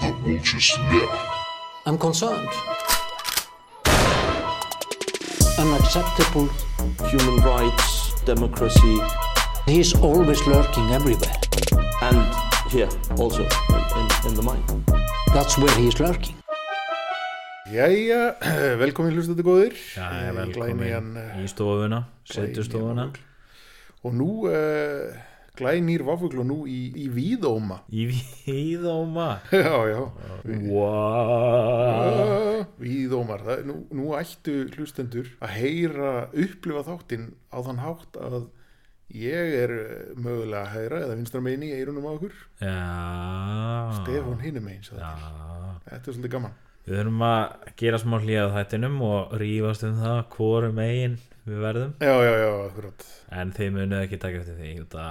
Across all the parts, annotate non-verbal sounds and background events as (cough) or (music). The vultures left. I'm concerned. Unacceptable. human rights, democracy, He's always lurking everywhere. and here also in, in, in the mind. That's where he is lurking. Jæja, (clears throat) velkomin hlustandi góðir Já, Í velkomin glænýjan, eh, í stofuna, setustofuna, Og nú uh, glænýr vafugl og nú í, í víðóma (laughs) í víðóma. Já, já Wow. Ah, Víðómar, það, nú, nú ættu hlustendur að heyra, upplifa þáttinn á þann hátt að ég er eh, mögulega að heyra eða vinstra meini í eirunum á okkur Já. Stefán hinum meins Já. Þetta er svolítið gaman Við þurfum að gera smá hlýjað þættinum og rífast um það hvorum megin við verðum. Já, já, já, akkurat En þeir munið ekki taka eftir því. Þetta,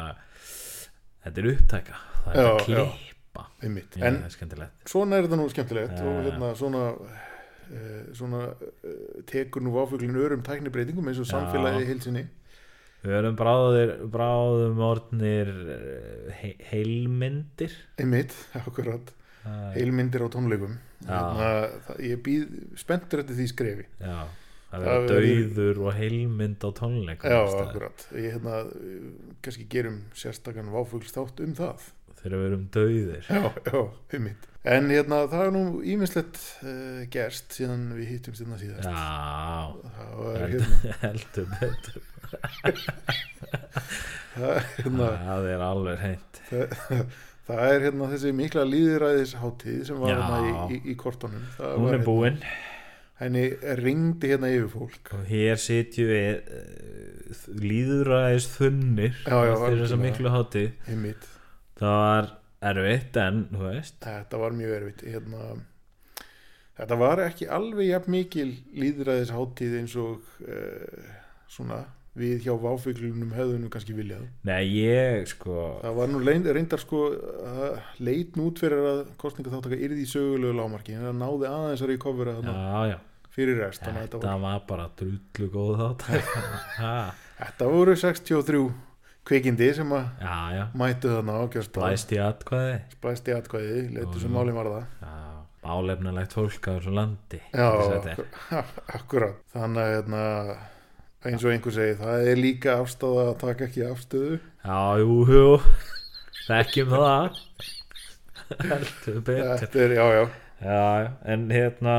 þetta er upptaka. Það er Já, að já. klippa. Einmitt. Já, En það er skemmtilegt. svona er þetta nú skemmtilegt Já. og hérna svona eh, svona eh, tekur nú váfuglinu örum tæknibreytingum eins og Já. samfélagið í heilsinni Við verðum bráðir, bráðum orðnir eh, he, heilmyndir. einmitt, (laughs) akkurat, Það er- heilmyndir á tónleikum Já. hérna, það, ég býð spenntur eftir því skrefi Já, það Það verður verður- dauður og heilmynd á tónleikum já, alls staðar. akkurat, ég hérna eh, kannski gerum sérstakann váfuglstátt um það þegar við erum dauðir já, (laughs) já, einmitt en hérna, það er nú ímislegt uh, gerst síðan við hittumst hérna síðast Já, (laughs) það var hérna, held- heldur betur það, hérna Það er alveg hreint (laughs) Það er hérna þessi mikla líðræðisháttíð sem var Já. hérna í, í, í kortunum. Það Hún var er búinn Hérna, henni ringdi hérna yfir fólk. og hér sitjum við eh, líðræðis þunnir Já, já, eftir þess algjörlega. að miklu háti Einmitt. Það var erfitt en, þú veist Þetta var mjög erfitt. Hérna, þetta var ekki alveg jafn mikil líðræðisháttíð eins og uh, svona við hjá váfuglunum höfðunum kannski viljað. Nei, ég sko Það var nú leind, reyndar sko uh, leitn út fyrir að kostninga þáttaka yrði í sögulegu lámarki en það náði aðeins að reykofera þarna Já, já, fyrir rest. Þannig að þetta þetta var bara drullu góð þátt (laughs) Já, var- Þetta voru 63 kvikindi sem að já, já mættu þarna á kjörstað Blæst í atkvæði blæst í atkvæði, leitu sem máli var það Já, álefnilegt fólk á þessu landi já, þetta er akkur- (laughs) akkurat þannig að hérna, eins og einhver segi það er líka afstáða að taka ekki afstöðu Já, jú, jú Þekkjum það Heldur betur þetta er, já, já Já, já, en hérna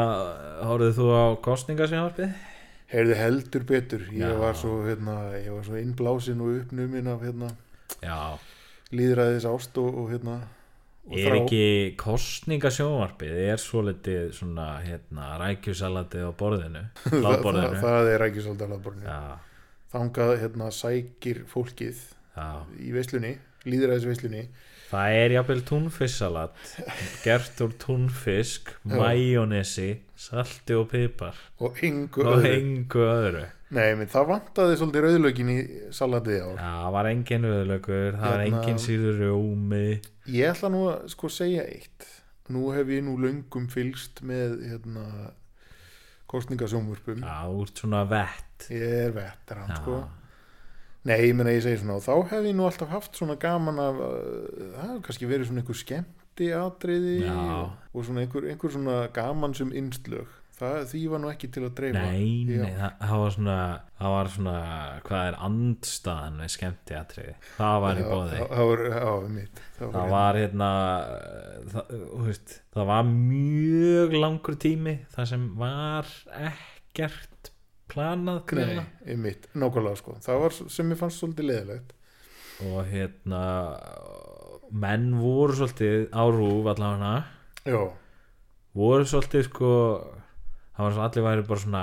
Hóruðu þú á kostningasjónvarpið? heyrðu heldur betur, ég Já. var svo hérna, ég var svo innblásin og uppnumin af hérna, Já líðræðis ást og, og hérna og Er ekki kostningasjónvarpið Er svolítið svona hérna Rækjusalatið á borðinu (laughs) það, það, Láborðinu það er ekki svolítið alveg Já, þangað hérna sækir fólkið já í veislunni, líðræðisveislunni Það er jafnvel túnfissalat Gert úr túnfisk Já. Majónesi Salti og pipar og engu Og öðru. engu öðru Nei, menn, það vantaði svolítið rauðlögin í salatið á. Já, það var engin vöðlökur Það var Hérna- engin síður rjómi Ég ætla nú að sko segja eitt. Nú hef ég nú löngum fylgst með hérna, kostningasjómvörpum. Já, þú ert svona vett Ég er vettur hann, Já. sko. Nei, ég meina ég segi svona og þá hef ég nú alltaf haft svona gaman af uh, það hefur kannski verið svona einhver skemmti atriði Já. og svona einhver, einhver svona gaman sem innslög. Það, því var nú ekki til að dreifa. Nei, Já. nei, það, það var svona Það var svona, hvað er andstaðan við skemmti atriði Það var í bóði Það- Það var, já, mitt. Það var hérna það, þú veist, það var mjög langur tími Það sem var ekkert planað hérna. Nei, greinilega. mitt, nákvæmlega sko. Það var s- sem ég fannst svolítið leðilegt. Og hérna Menn voru svolítið á rúf allavega Já, voru svolítið sko það var svo allir væri bara svona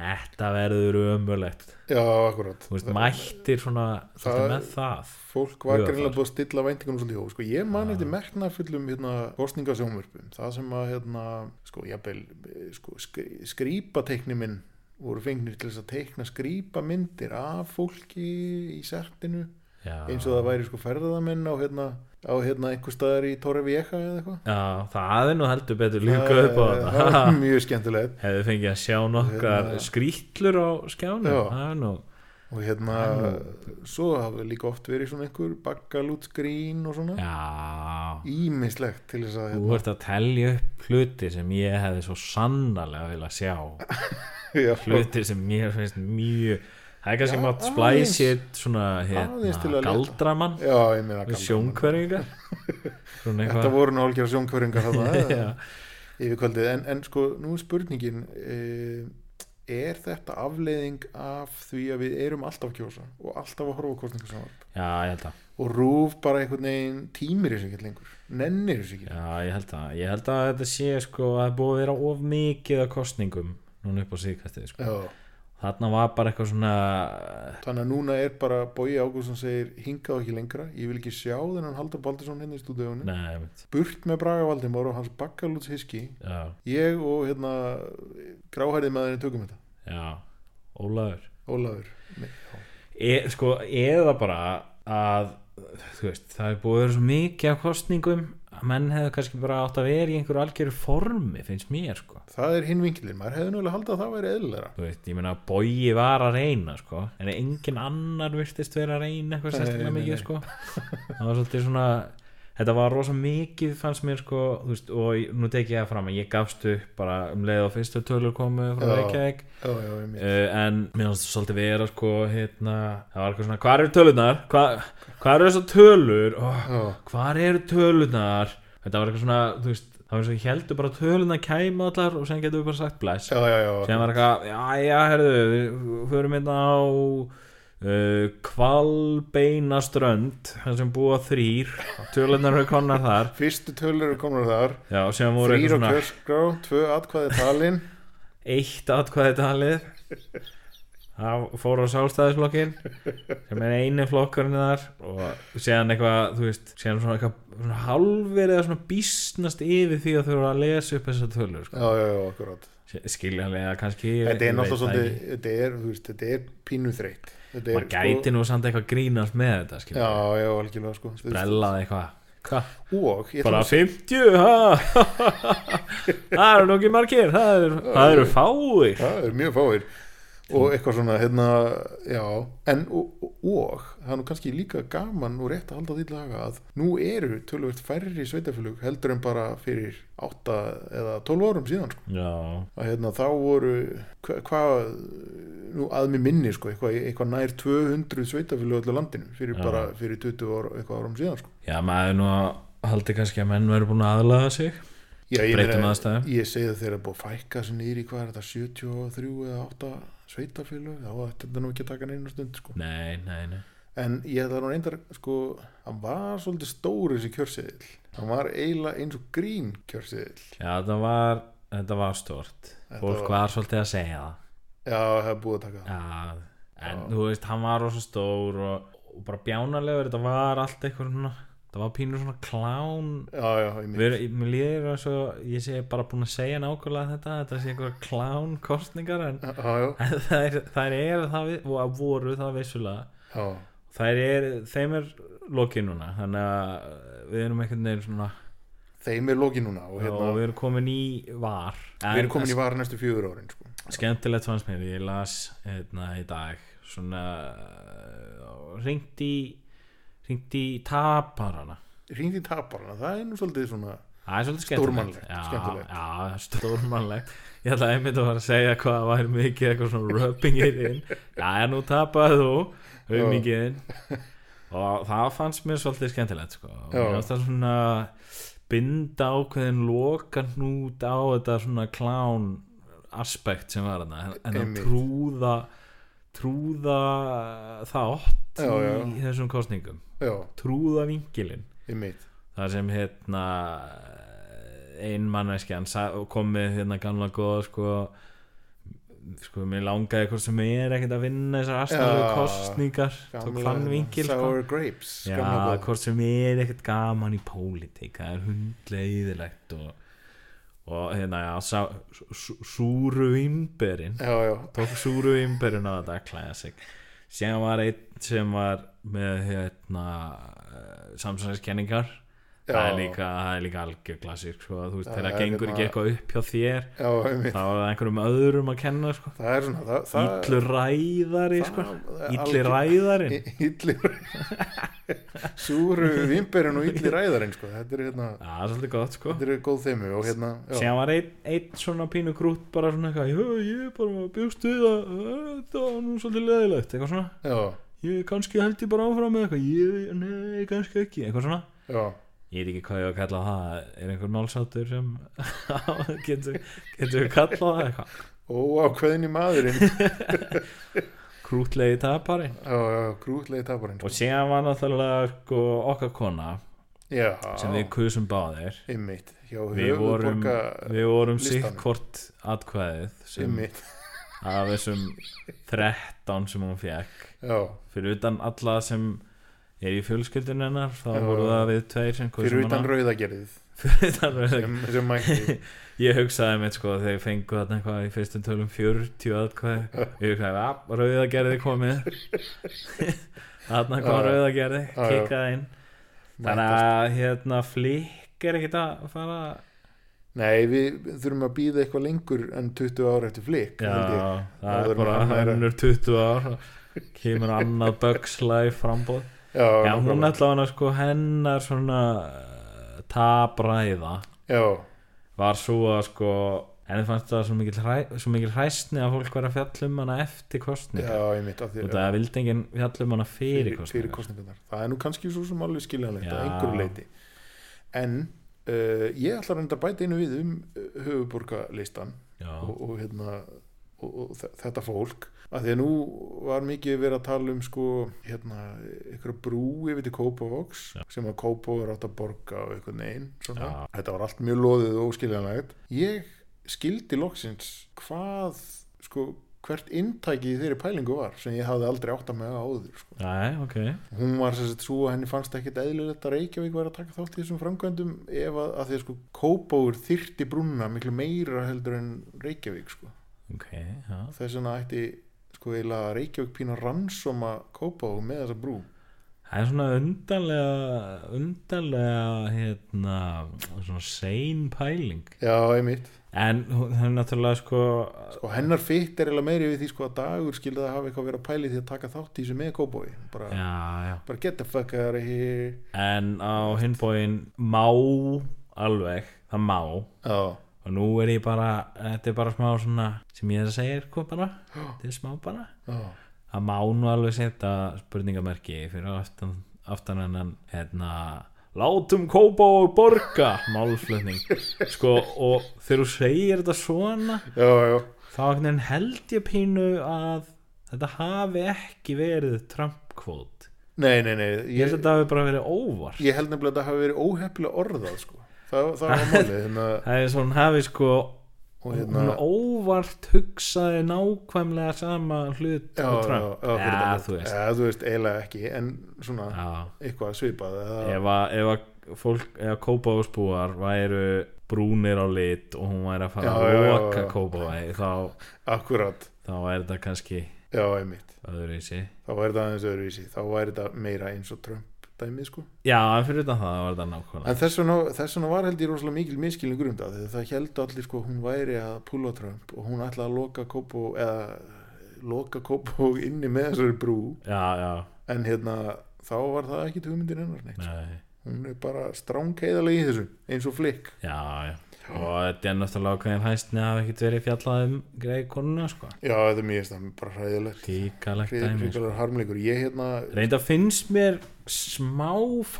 þetta verður ömulegt já, akkurat. þú veist, mættir svona svolítið það- með það fólk var Hugarfar. greinlega búið að stilla væntingunum svolítið hóf, sko, ég man eftir merknafullum hérna, kostningasjónvörpum, það sem að hérna, sko, jafnvel eh, sko, skri- skrýpateikni minn voru fengnir til þess að teikna skrýpamyndir af fólki í sertinu, já, eins og það væri sko ferðamenn á hérna, á hérna einhver staðar í Torre Vieja eða eitthvað já, það er nú heldur betur líka upp á Það- það þetta var (laughs) mjög skemmtilegt hefðu fengið að sjá nokkar Hérna. skrítlur á skjánu Já. það er nú og hérna svo hafa líka oft verið svona einhver bakkalútsgrín og svona já ímislegt til þess að þú ert að telja upp hluti sem ég hefði svo sannarlega vilja sjá hérna- já, hluti sem mér finnst mjög það er kannski Já, mátt aðeins. splæsir svona Aðeins til hérna að leta. galdramann já, ég meina við gaman. sjónkverðingar (laughs) svona þetta eitthvað voru nú algjör sjónkvöringar (laughs) þarna Já. yfir kvöldið en, en sko nú er spurningin e, er þetta afleiðing af því að við erum alltaf að kjósa og alltaf að horfa kostningarsamvarp já, ég held að og rúf bara einhvern veginn tímir þessu ekki lengur, nennir þessu ekki Já, ég held að, ég held að þetta sé sko að það er búið að vera of mikið af kostningum núna upp á síðkastið sko. já. Þarna var bara eitthvað svona þannig að núna er bara Bói Ágúst sem segir hingað ekki lengra, ég vil ekki sjá þennan Haldur Baldursson hérna í stúdíónu Nei, einmitt. burt með Braga Valdimar og hans bakkalúts hiski já, ég og hérna gráhærið maðurinn tökum þetta já, Ólafur Ólafur Nei, e, Sko, eða bara að þú veist, það er búið að vera svo mikið af kostningum að menn hefðu kannski bara átt að vera í einhverju algjöru formi finnst mér sko það er hinn vinkilinn, maður hefði núlega haldið að það væri eðlera Þú veist, ég meina að bogi var að reyna sko. en engin annar virtist vera að reyna eitthvað Nei, sérstaklega nei, mikið nei. sko. það var svolítið svona þetta var rosa mikið fannst mér sko, þú veist, og ég- nú tek ég það fram að ég gafst upp bara um leið og fyrstu tölur komu frá Já. Reykjavík já, já, ég mér uh, en mér fannst svolítið vera sko, hérna, það var eitthvað svona hvað eru tölurnar, hvað, hvað eru þessar tölur oh, já, hvað eru tölurnar þetta var eitthvað svona, þú veist það var eins og ég heldur bara að tölurnar kæma allar og sen getum við bara sagt bless já, já, já, sem var eitthvað, já, já, herðu við förum hérna á uh, kvalbeinaströnd þar sem búa þrýr tölunar eru konar þar fyrstu tölur eru komin þar já, sem voru þrýr og eitthvað svona kjörskrá, tvö atkvæði talin eitt atkvæði talið það fór á sálstæðisflokkin sem er einu flokkurinn þar og séðan eitthvað, þú veist séðan svona eitthvað svona halvverið eða svona býstnast yfir því að þau voru að lesa upp þessar tölur sko. já, já, já, akkurat skiljanlega kannski þetta er ég veit náttúrulega það svolítið, ekki. þetta er, þú veist, þetta er pínu þreytt Þetta er, maður gæti nú samt eitthvað grínast með þetta sko, skiljanlega. já, já, algjörlega sko Þú veist, brellaði eitthvað Hva? og ég bara ætla, 50 ha? (laughs) það eru nokkið margir það eru, það eru fáir það er mjög fáir og eitthvað svona hérna, já, en og, og það er nú kannski líka gaman og rétt að halda því til laga að nú eru tölvöld færri sveitafélug heldur en bara fyrir 8 eða 12 árum síðan sko. já, að hérna þá voru hva- hvað, nú að mér minni sko, eitthvað, eitthvað nær 200 sveitafélug öllu landinu fyrir Já. bara fyrir 20 ára, eitthvað árum síðan sko. já maður nú að haldi kannski að menn verður búin að aðlaða sig já, ég, Breytum meina, aðstæðum. ég segi það þegar er búið að fækka sem nýri hvað er þetta 73 eða 8 sveitafélug, þá ætti þetta nú ekki að taka neina stund sko. nei, nei, nei en ég það nú reyndar sko, hann var svolítið stóri þessi kjörseðil hann var eiginlega eins og grín kjörseðil já, þetta var, þetta var stort Þetta fólk var- var svolítið að segja það já, það er búið að taka það já, en þú veist, hann var rosa stór og, og bara bjánalegur þetta var allt eitthvað svona þetta var pínur svona klán já, já, ég Mér, mér líður að svo, ég sé bara búin að segja nákvæmlega þetta, þetta sé einhver klán kostningar en já, já, þær, þær eru það vi- og voru það vissulega já, þær eru, þeim er lokið núna þannig að eh, við erum einhvern veginn svona þeim er lokið núna og og hérna, við erum komin í var við erum komin í var næstu fjögur árin sko. skemmtilegt fannst mér, ég las hérna í dag svona ringt í ringt í taparana hringdi taparana, það er nú svolítið svona Það er svolítið Stórmannlegt, Já, skemmtilegt. Já, stórmannlegt Ég ætla einmitt að fara að segja hvað það væri mikið eitthvað svona röpingið þinn Já, nú tapaði þú auðmingiðin og það fannst mér svolítið skemmtilegt sko. og Já. mér fannst það svona binda ákveðin lokan út á þetta svona klán aspekt sem var þarna en að Einmitt. trúða trúða þátt Já, já. í þessum kostningum já, trúða vingilinn ég meit þar sem hérna ein manneskjan sa- kom með hérna gamla góða sko sko mér langaði hvort sem er ekkert að vinna þessar aðstæðu Já, kostningar tók þann vinkil sko. sour grapes já, gamla góða. hvort sem er ekkert gaman í pólitík það er hundleiðilegt og, og hérna já sá, sú, súru vimberinn já, já, tók súru ymberinn á þetta classic eh, síðan var einn sem var með hérna, samsæðiskenningar það er líka, það er líka algjör klassík sko, þú veist, Já, þegar það er gengur ekki hérna- eitthvað upp hjá þér já, einmitt. þá er það einhverjum öðrum að kenna sko. það er svona það, það, Íllur ræðari sko. það er Íllir algjör- ræðarinn Illi (laughs) Súru vimberinn og illi ræðarinn sko. þetta er hérna Já, það er svolítið gott sko þetta er góð þeimu og hérna já, sem var einn ein svona pínu grút bara svona eitthvað, "Jö, ég er bara bjóst við að ö, þetta var nú svolítið leðilegt eitthvað svona, já, ég kannski held ég bara áfram með eitthvað, ég, nei, kannski ekki eitthvað svona, já, ég veit ekki hvað ég á að kalla það er einhver málsáttur sem (laughs) getur, getur við kallað það eitthvað, óákveðin í maðurinn já, krútlegi tapari já, grútlegi taparinn sko. og síðan var náttúrulega sko, okkar kona já, sem við kusum báðir einmitt hjá við vorum, höfuborga við vorum listanum. sitt hvort atkvæðið sem einmitt, af þessum 13 sem hún fekk já, fyrir utan alla sem er í fjölskyldun hennar þá Já. voru það við tveir sem kusum fyrir utan hana. rauðagerðið fyrir (laughs) utan rauð sem, sem mætti ég hugsaði mitt sko þegar ég fengu þarna eitthvað í fyrstum tölum 40 (laughs) atkvæði ég hugsaði að rauðagerði komið þarna kom Já, já. rauðagerði Já, já. kikkaði inn (laughs) þannig að hérna flikk er ekkert að fara nei, við þurfum að býða eitthvað lengur en 20 ára eftir flik held ég. já, það Áður er en bara hann er- önnur 20 ár kemur annað Bugs Life frambóð já, já, hún nákvæmlega. allavega sko hennar svona eh, tabræða já, var svo að sko henni fannst það svo mikil, hræ, svo mikil hræsni að fólk var að fjalla um hana eftir já, kostningar einmitt af því og það vildi enginn fjalla um hana fyrir fyrir kostningar kostningarnar það er nú kannski svo sem alveg skiljanlegt að Já. einhverju leiti en uh, ég ætla að reynda að bæta einu við um uh, höfuborgarlistan já, og, og, hérna, og, og þe- þetta fólk að því að nú var mikið verið að tala um sko hérna ykkur brú yfir til Kópavogs sem að Kópavogur átt að borga og eitthvað negin svona. Já. þetta var allt mjög loðið og óskiljanlegt ég skildi loksins hvað sko hvert inntæki í þeirri pælingu var sem ég hafði aldrei átt að með áður sko Æ, ok hún var sem sagt svo að henni fannst ekkit eðlilegt að Reykjavík var að taka þátt í þessum framkvæmdum ef að, að því að sko Kópáur þyrti brúnna miklu meira heldur en Reykjavík sko. ok, já, þess vegna ætti sko eiginlega að Reykjavík pínu að rannsóma Kópáur með þessa brú það er svona undanlega undanlega hérna svona sein pæling já, einmitt en hún hún náttúrulega sko sko hennar fytt er eiginlega meiri við því sko að dagur skildi að hafa eitthvað verið að pæli því að taka þátt í þessu með Kópáur bara, já, já bara get the fuck out of here En á hinbóin má alveg, það má já, og nú er ég bara, þetta er bara smá svona sem ég er að segja sko bara þetta er smá bara, já, það má nú alveg setja spurningamerki fyrir aftan, aftan hennan hérna, látum kópa og borga málflutning, sko og þegar þú segir þetta svona já, já þá einhvern veginn held ég pínu að þetta hafi ekki verið Trump-kvót nei, nei, nei, ég held að ég, þetta hafi bara verið óvart ég held nefnilega að þetta hafi verið óhefnilega orðað sko það, það var málið hérna, Það er svo hún hafi sko og hérna hún óvart hugsaði nákvæmlega sama hlut já, og já, Trump já, fyrir ja, Donald. þú veist ja, þú veist, eiginlega ekki en svona já. eitthvað svipað eða, Ef, að, ef að fólk eða kópáðsbúar væru brúnir á lit og hún væri að fara Já, að já, já, loka já. kópáði þá, akkurat, þá væri þetta kannski já, einmitt öðruvísi þá væri það aðeins öðruvísi, þá væri það meira eins og Trump dæmið sko Já, en fyrir utan það var þetta nákvæmlega en þess vegna, þess vegna var held ég rosalega mikil miskilningur um það, þegar það held allir sko hún væri að púla Trump og hún ætlaði að loka kópó eða loka kópó inni með þessari brú Já, já, en hérna, þá var það ekki hugmyndin hennar neitt, nei hún er bara stránkeiðalega í þessu, eins og flikk Já, já, og þetta er náttúrulega ákveðin hæstni að hafa ekkert verið fjallað um greið konuna, sko já, þetta er mjög það er bara hræðilegt Ríkalegt dæmi, sko hrigalur harmleikur ég hérna, reynda finnst mér smá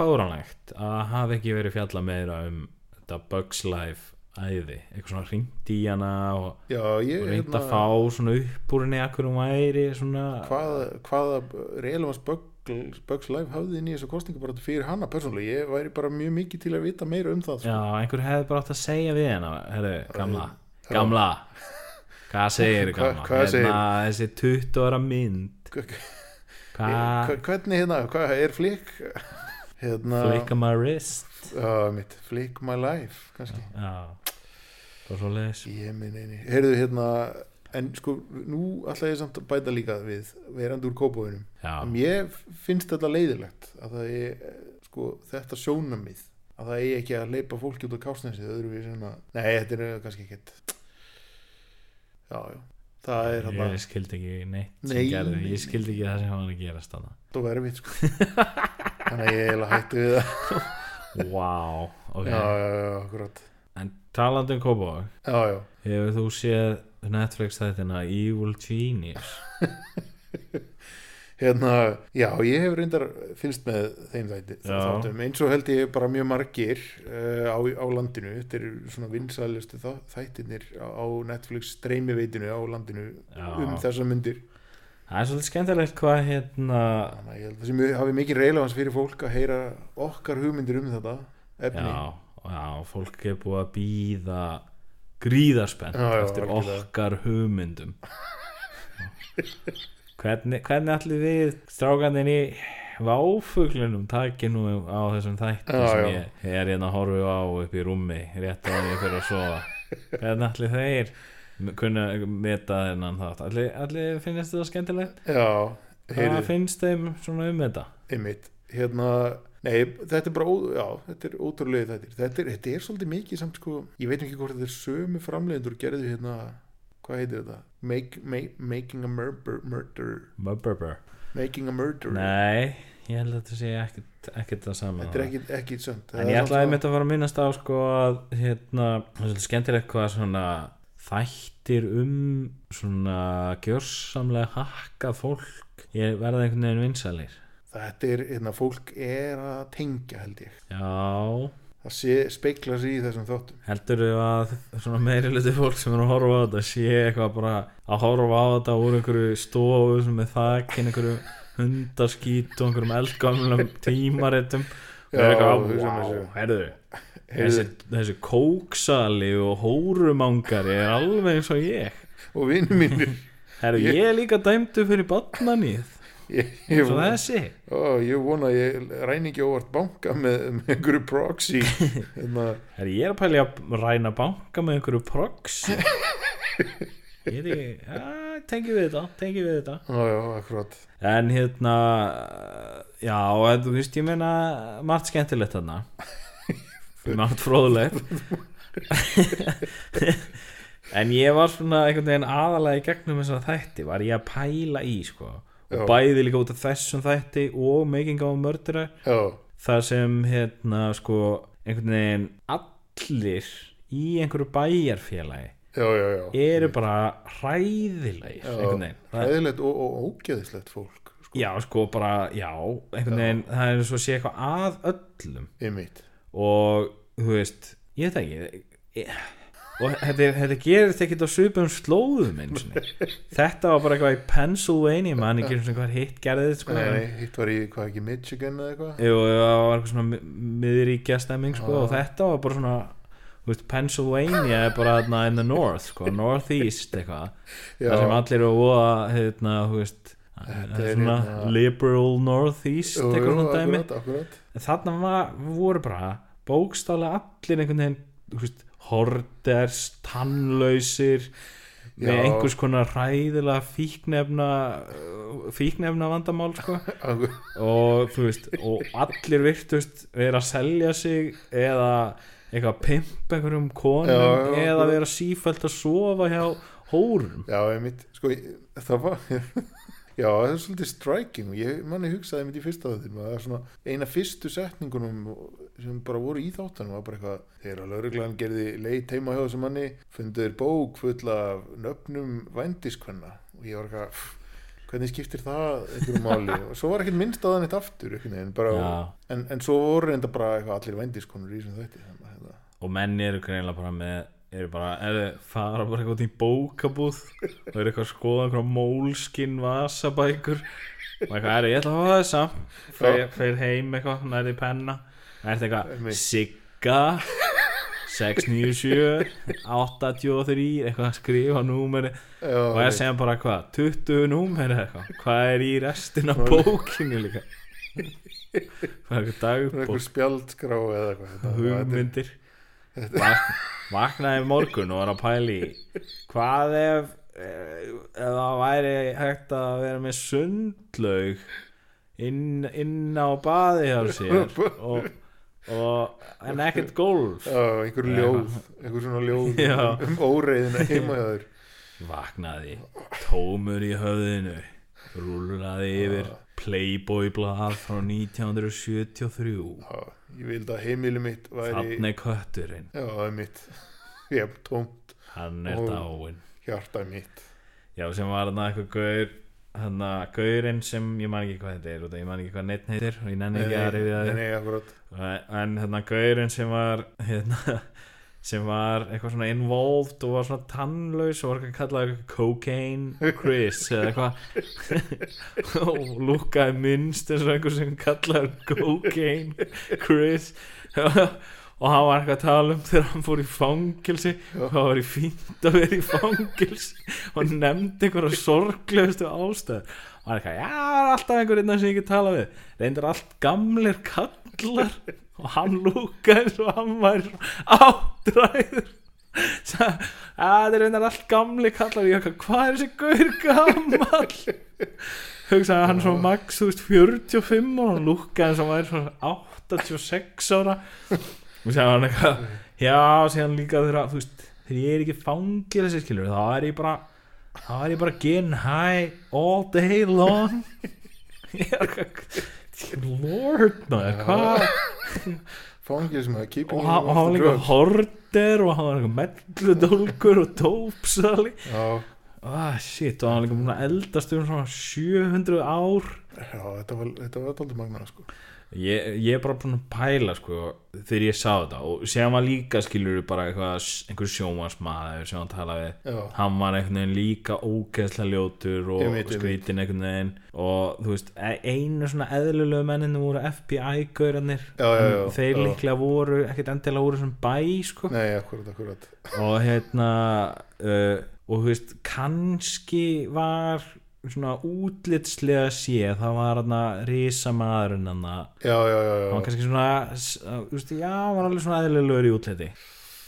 fáranlegt að hafa ekki verið fjalla meira um þetta Bugs Life æði, eitthvað svona hringt í hana og, já ég og reynda hérna að fá svona upp úr henni akkur um væri svona hvað, hvaða relevans Bugs Life hafði inn í þessu kostningabaratu fyrir hana persónulega, ég væri bara mjög mikið til að vita meira um það já, sko. einhver hefði bara átt að segja við henni herru, gamla, gamla hvað Hva- segir gamla Hérna, hvað segirðu? þessi 20 ára mynd Hva- hvað, Hva- hvernig hérna, hvað er flick hérna flicka my wrist já, mitt, flick my life kannski, já, það er svo leis ég minn eini heyrðu hérna, en sko nú ætla ég samt að bæta líka við verandi úr kópóinum já, Mér finnst þetta leiðilegt að það er eh, sko, þetta sjónamið að það eigi ekki að leipa fólki út á kásnesið öðruvísi en að nei, þetta er kannski ekkit já, já, það er hann Ég skildi ekki neitt sem Nei, gerði. nei, nei. Ég skildi ekki það sem hann var að gera stanna að vera mitt sko þannig að ég er eiginlega hætti við það Vá, wow, ok já, já, já, akkurat En talandi um Kópavog já, já, Hefur þú séð Netflix þættina Evil Genius hérna, já, ég hef reyndar fylst með þeim þætti Já. þáttum, eins og held ég bara mjög margir uh, á, á landinu, þetta er svona vinsælustu þá- þættirnir á, á Netflix streymiveitinu á landinu Já. um þessa myndir Það er svolítið skemmtilegt hvað hérna þannig að ég held að það sé mjög- hafi mikið reilans fyrir fólk að heyra okkar hugmyndir um þetta efni já, já, fólk er búið að býða gríðarspennt Já, já, eftir algjörlega. okkar hugmyndum hvernig, hvernig allir við strákanin í váfuglunum taki nú á þessum þætti Já, sem já. ég er hérna að horfa á upp í rúmi rétt á ég fyrir að sofa hvernig allir þeir m- kunna meta þennan þátt allir, allir finnist þetta skemmtilegt Já, hvað heyrið, finnst þeim svona um þetta einmitt hérna, nei, þetta er bara ó- já, þetta er ótrúlega þetta þetta er, þetta er svolítið mikið samt sko ég veit ekki hvort þetta er sömu framleiðendur gerðu hérna, hvað heitir þetta Make, make, Making a murder, murder Mubberber Making a murder Nei, ég held að þetta sé ekkert, ekkert það sama þetta er ekki, ekki sönd En ég ætlaði mitt að fara að minnast á sko að hérna, það er svolítið skemmtilegt hvað svona þættir um svona gjörsamlega hakkað fólk ég verða einhvern veginn vinsælir þetta er, hérna, fólk er að tengja held ég, Já, það sé, speikla sér í þessum þáttum heldurðu að svona meiri hluti fólk sem er að horfa á þetta sé eitthvað bara að horfa á þetta úr einhverju stofu sem er þakinn einhverju hundaskít og einhverjum eldgamlum tímaritum og er Já, eitthvað, hugsa um með wow, sér. herðu Þessi, þessi kóksali og hórumangari er alveg eins og ég og vinnu (laughs) mínir Herru, ég, er líka dæmdu fyrir badnanið ég, ég, Svo þessi ó, ég vona að ég ræni ekki óvart banka með, með einhverju (laughs) proxy hérna Herru, ég er að pæli að ræna banka með einhverju (laughs) proxy Ég er ekki, að, tengi við þetta, tengi við þetta Já, já, akkurat En hérna, já, en þú veist, ég meina margt skemmtilegt þarna Margt fróðulegt En ég var svona einhvern veginn aðalega í gegnum þessar þætti Var ég að pæla í, sko Já. Og bæði líka út af þessum þætti og Making of a Murderer Já, Það sem, hérna, sko, einhvern veginn allir í einhverju bæjarfélagi já, já, já. eru bara hræðilegir einhvern veginn Það- Hæðilegt og, og ógeðislegt fólk sko, Já, sko, bara, já, einhvern veginn, það er svo að sé eitthvað að öllum einmitt og, þú veist, ég veit það ekki, ég, og þetta, er- þetta gerist ekkert á svipum slóðum eins og (laughs) þetta var bara eitthvað í Pennsylvania, mann ekki eins og hvað hitt gerði þetta, sko, Nei, nei, hitt var í, hvað ekki, Michigan eða eitthvað Jú, jú, það var eitthvað svona miðuríkja stemming sko, Ah. og þetta var bara svona þú veist, Pennsylvania er bara þarna in the north sko, northeast eitthvað Já. það sem allir eru voða hérna, þú veist Þetta er svona hérna- liberal northeast Jú, eitthvað jú, svona dæmi akkurat, akkurat en þarna var, voru bara bókstálega allir einhvern veginn þú veist, horders, tannlausir með Já. einhvers konar ræðilega fíknefna fíknefna vandamál (laughs) sko Akkur- og þú veist og allir virtust vera að selja sig eða eitthvað að pimpa einhverjum konum Já, já, eða já. vera sífælt að sofa hjá hórum Já, einmitt, sko, ég- það var (laughs) Já, það er svolítið striking ég manni hugsaði einmitt í fyrsta þáttum að það er svona eina fyrstu setningunum sem bara voru í þáttunum var bara eitthvað þegar að lauruglan gerði leit heima hjá þessum manni funduður bók full af nöfnum vændiskvenna og ég var eitthvað "Pff, hvernig skiptir það einhverjum máli og svo var ekkert minnst á þannig eitt aftur einhvern veginn, bara, Já. en, en svo voru reynda bara eitthvað allir vændiskonur í sem þetta þannig að þetta- og menn eru greinlega bara með eru bara, eru fara bara eitthvað út í bókabúð og eru eitthvað að skoða einhverja mólskin vasabækur og eitthvað eru, ég ætla að hafa þessa fer, fer heim eitthvað, nærði penna er þetta eitthvað, sigga 697 883, eitthvað að skrifa númeri Já, og ég segja bara hvað, 20 númeri eða eitthvað, hvað er í restin af bókinu líka (laughs) það er eitthvað það er dagbók einhver spjaldskrá eða eitthvað þetta- þetta er- hugmyndir Vak, vaknaði í morgun og var að pæla í hvað ef eh, ef það væri hægt að vera með sundlaug inn, inn á baði hjá sér og og en ekkert golf Já, einhver ljóð, einhver svona ljóð (laughs) Já. um- um óreiðina heima hjá þér vaknaði tómur í höfðinu rúlaði yfir Playboy blað frá 1973 Já, ég vildi að heimili mitt væri þarna er kötturinn Já, það er mitt (laughs) Ég hef tómt hann er Og- dáinn hjarta mitt já sem var þarna eitthvað gaur hann að gaurinn sem ég man ekki hvað þetta er og ég man ekki hvað neitt heitir og ég nenni ekki að rifja nei, það upp. nei, akkurat en hérna gaurinn sem var hérna (laughs) sem var eitthvað svona involved og var svona tannlaus og var eitthvað kallað eitthvað cocaine Chris eða eitthvað og lúkaði minnst eins og einhver sem kallaði cocaine Chris og hann var eitthvað að tala um þegar hann fór í fangilsi og það var í fínt að vera í fangilsi og nefndi einhverja sorglegustu ástæð og hann er eitthvað, já, það er alltaf einhver innan sem ég ekki tala við reyndar allt gamlir kallar og hann lúkaði eins og hann væri áttræður Sa- að þeir reyndar allt gamli kallar ég okkar, hvað er þessi gaur gammal hugsaði hann svo max, þú veist, 45 og hann lúkkaði eins og hann væri svona 86 ára og sagði hann eitthvað, já, síðan líka þegar, þú veist, þegar ég er ekki fangir þessi skilur, þá er ég bara þá er ég bara getting high all day long (laughs) ég er eitthvað Lord, maður, hvað Fangil sem að keeping og hann og hann var líka horder og hann var líka melludólkur og tópsali Já, ah shit og hann var líka múin að eldast um svona 700 ár já, þetta var þetta var alltaf magnað sko ég, ég er bara búin að pæla sko þegar ég sá þetta og sem var líka skilur bara eitthvað einhver sjónvarsmaður sem hann talaði við Já, hann var einhvern veginn líka ógeðslega ljótur og Einmitt, einmitt. skrítin einhvern veginn og þú veist, e- einu svona eðlulegu menninu voru FBI-gaurarnir Já, já, já, En þeir já. líklega voru, ekkert endilega voru sem bæ, sko nei, akkurat, akkurat og hérna uh, og þú veist, kannski var svona útlitslega séð, það var hann að risa maðurinn hann að Já, já, já, hann var (laughs) já, kannski svona s- að, þú veist, já, hann var alveg svona eðlilegur í útliti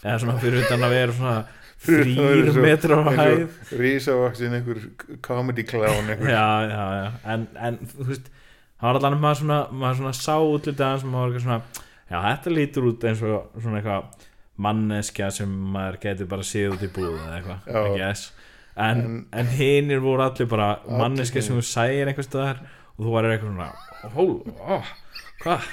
eða svona fyrir utan að vera svona Fyrir utan að vera þrýr svo- metrar á hæð já Rísavaksin, einhver comedy clown einhver. já, já, já, en, en þú veist það var allan að maður svona, maður svona sá útlitið hans og maður var eitthvað svona já, þetta lítur út eins og svona eitthvað manneskja sem maður getur bara séð út í búð eða Já. eitthvað, I guess en, en, hinir voru allir bara manneskja sem þú sæir einhvers staðar og þú varir eitthvað svona hól, oh, hvað,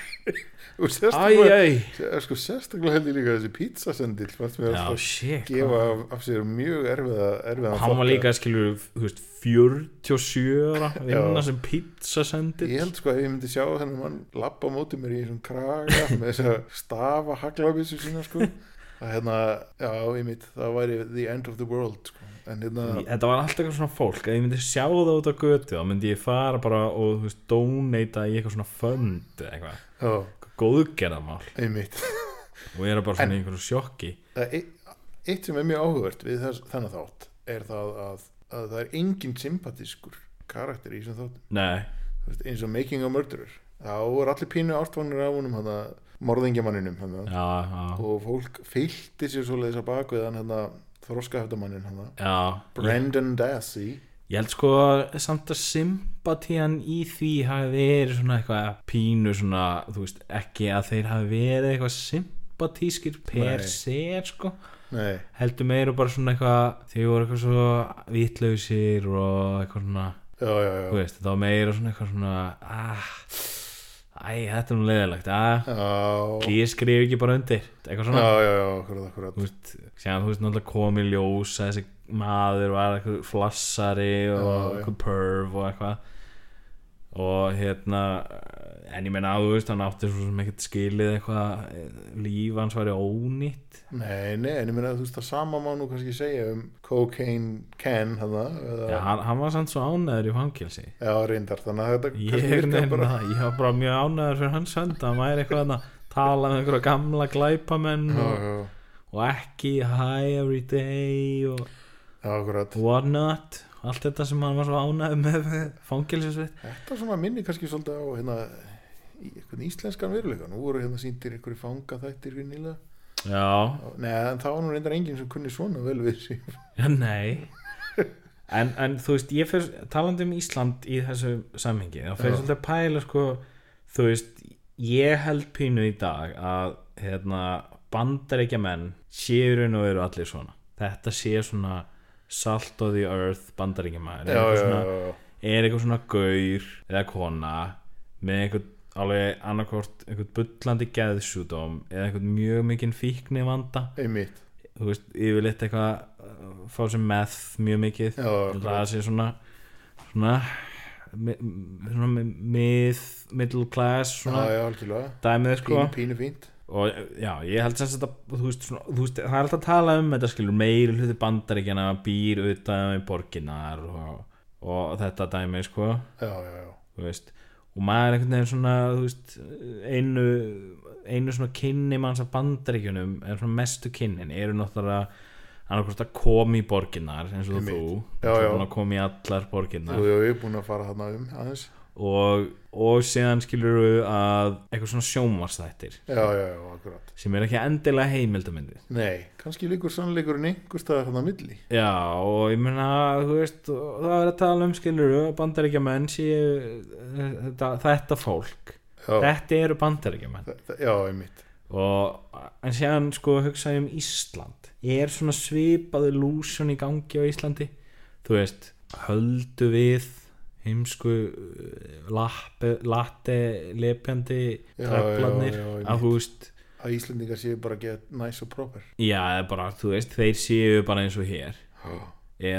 Og æj, sérstaklega, æj sko, sérstaklega held ég líka þessi pizzasendil fannst mér já, alltaf shit gefa af, af sér mjög erfiða, erfiða hann var líka, skilur, þú veist 47 ára, vinna Já. sem pizza sendir Ég held sko að ég myndi sjá þennan mann lappa á móti mér í þessum (laughs) kraga með þess að stafa haglabissu sína sko að hérna, já, ég mitt, það væri the end of the world sko. en hérna, þetta var alltaf eitthvað svona fólk að ég myndi sjá það út á götu þá myndi ég fara bara og þú veist, donata í eitthvað svona fund eða eitthvað, já, góðgerðamál ég mitt og ég er bara svona í einhverju sjokki e-, eitt sem er mjög áhugvert við þess, þennan þátt er það að, að það er engin sympatískur karakter í þessum þáttum nei, Þú veist, eins og Making a Murderer þá er allir pínu ástvanir af honum hana, morðingjamanninum hana, já, já, og fólk fylgdi sér svoleiðis að baku við hann hérna, hana, þroskahefdamannin hana já ég, Brendan Dassey ég held sko að samt að sympatían í því hafi verið svona eitthvað pínu svona, þú veist, ekki að þeir hafi verið eitthvað sympatískir per Nei. se, sko Nei, heldur meira bara svona eitthvað þeir voru eitthvað svo vitlausir og eitthvað svona já, já, þú já. veist, þetta var meira svona eitthvað svona ah, æ, þetta er nú leðilegt ah, Já, ég skrif ekki bara undir eitthvað svona, já, já, já, akkurat, akkurat. þú veist séðan, þú veist, náttúrulega komið ljós að þessi maður var eitthvað flassari og Já, já. eitthvað perv og eitthvað og hérna en ég meina, þú veist, hann átti svo sem ekkert skilið eitthvað líf hans væri ónýtt Nei, nei, en ég meina þú veist það sama má nú kannski segja um Cocaine Can, hana, eða, Já, hann, hann var samt svo ánæður í fangilsi já, reyndar, þannig að þetta ég, neina, ég var bara mjög ánæður fyrir hans hönd að maður er eitthvað þarna að tala um einhverja gamla glæpamenn Já, og, já, og ekki hi every day og já, akkurat. what not allt þetta sem hann var svo ánægð með fangilsisveit Þetta svona minni kannski svolítið á, hérna, í einhvern íslenskan veruleika. Nú voru hérna sýndir einhverju fanga þættir fyrir nýlega. já, Nei, en það var nú reyndar enginn sem kunni svona vel við sig. já nei en, en þú veist, ég fyrst talandi um Ísland í þessu samhengi þá fyrir Já. svolítið að pæla sko þú veist, ég held pínu í dag að hérna, bandaríkja menn séu í raun og eru allir svona þetta sé svona salt of the earth bandaríkja maður Já, já, svona, já, já. er eitthvað svona gaur eða kona með einhvern alveg annarkort einhvern bullandi geðsjúdóm eða einhvern mjög mikinn fíkni vanda einmitt þú veist, yfirleitt eitthvað uh, fá sem meth mjög mikið Já, það sé svona svona, mi- mi- svona mið, middle class Já, svona já, algjörlega dæmið sko Pínu, pínu fínt og já, ég held sem þetta þú veist, svona, þú veist, það er alltaf að tala um þetta skilur meiri hluti bandaríkjana býr utan í borginar og, og þetta dæmi sko Já, já, já þú veist og maður einhvern veginn svona þú veist, einu, einu svona kynni manns af bandaríkjunum er svona mestu kynnin eru náttúrulega annarkvist að koma í borginnar eins og þú Já, já. að koma í allar borginnar Þú hefur búin að fara þarna um aðeins og, og síðan skilur við að eitthvað svona sjónvarsþættir Já, já, já, akkurat sem er ekki endilega heimildamyndið Nei, kannski líkur sannleikurinn einhver staðar þarna á milli Já, og ég meina, þú veist, og það er að tala um skilur að bandaríkjamenn séu eh, þetta, þetta fólk, Já, þetta eru bandaríkjamenn þa- þa- já, einmitt og en séðan sko hugsaði um Ísland er svona svipaði lúsjón í gangi á Íslandi þú veist, höldu við heimsku uh, lappe, latte lepjandi Já, treflarnir já, já, einmitt. að þú veist Að Íslendingar séu bara að get nice og proper já, eða bara, þú veist, þeir séu bara eins og hér Já,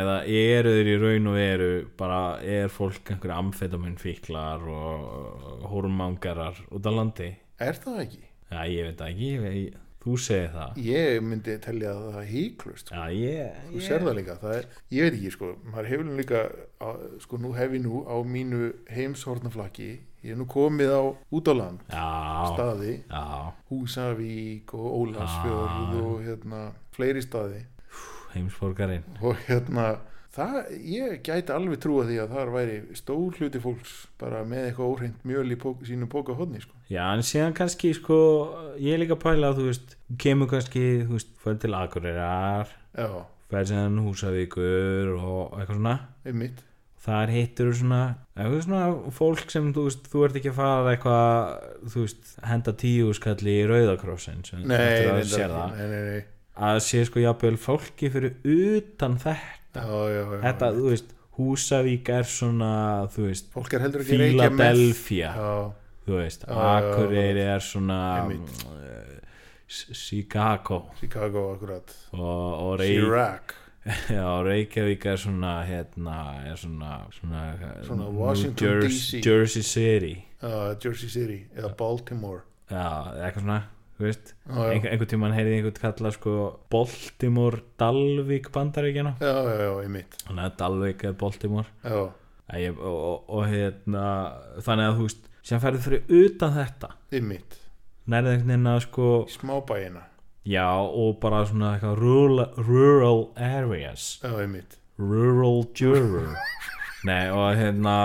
eða eru þeir í raun og veru bara er fólk einhverja amfetamun fíklar og hormangarar út á landi Er það ekki? já, ég veit það ekki, ég, ég, þú segir það Ég myndi telja að það híklust Já, ég, Þú ég sér það líka, það er, ég veit ekki sko, maður hefur nú líka, að, sko nú hef ég nú á mínu heimshornaflakki, ég er nú komið á út á land, Já, staði, já, Húsavík og Ah. Ólafsfjörð og hérna fleiri staði heimsborgarinn og hérna það, ég gæti alveg trúa því að þar væri stór hluti fólks bara með eitthvað óhreint mjöl í pók, sínu póka hodni sko. Já, en síðan kannski, sko, ég er líka að pæla að, þú veist, kemur kannski, þú veist, fyrir til Akureyrar, Já, fyrir sem Húsavíkur og eitthvað svona einmitt Þar hittur svona, eitthvað svona fólk sem, þú veist, þú ert ekki að fara eitthvað, þú veist, henda tíu skalli í Rauðakrossin sem Nei, Mm, eftir reyndar að þú sér ekki. það nei, nei, nei. Að sé, sko, jafnvel fólki fyrir utan þetta, Já, já, já, þetta, þú veist, Húsavík er svona, þú veist, fólk er heldur ekki að reykja með Philadelphia Já, þú veist, já, já, já. Akureyri er svona Einmitt. eh, S- Chicago Chicago akkurat og, og, Rey, Chirac (laughs) já, og Reykjavík er svona hérna, er svona, svona, eh, Svona New Washington Jersey, DC. Jersey City uh, Jersey City eða Baltimore já, eða eitthvað svona þú veist, Já, já. Einhver, einhvern tímann heyrði einhvern kalla sko Baltimore Dalvik bandaríkjana Já, já, já, einmitt þannig að Dalvik er Baltimore Já, Æ, ég, og, og, og hérna þannig að þú veist, sem færðu fyrir utan þetta einmitt nærði einhvern veginn að sko Í smábæina Já, og bara svona eitthvað rural, rural areas Já, einmitt Rural juror Nei, og hérna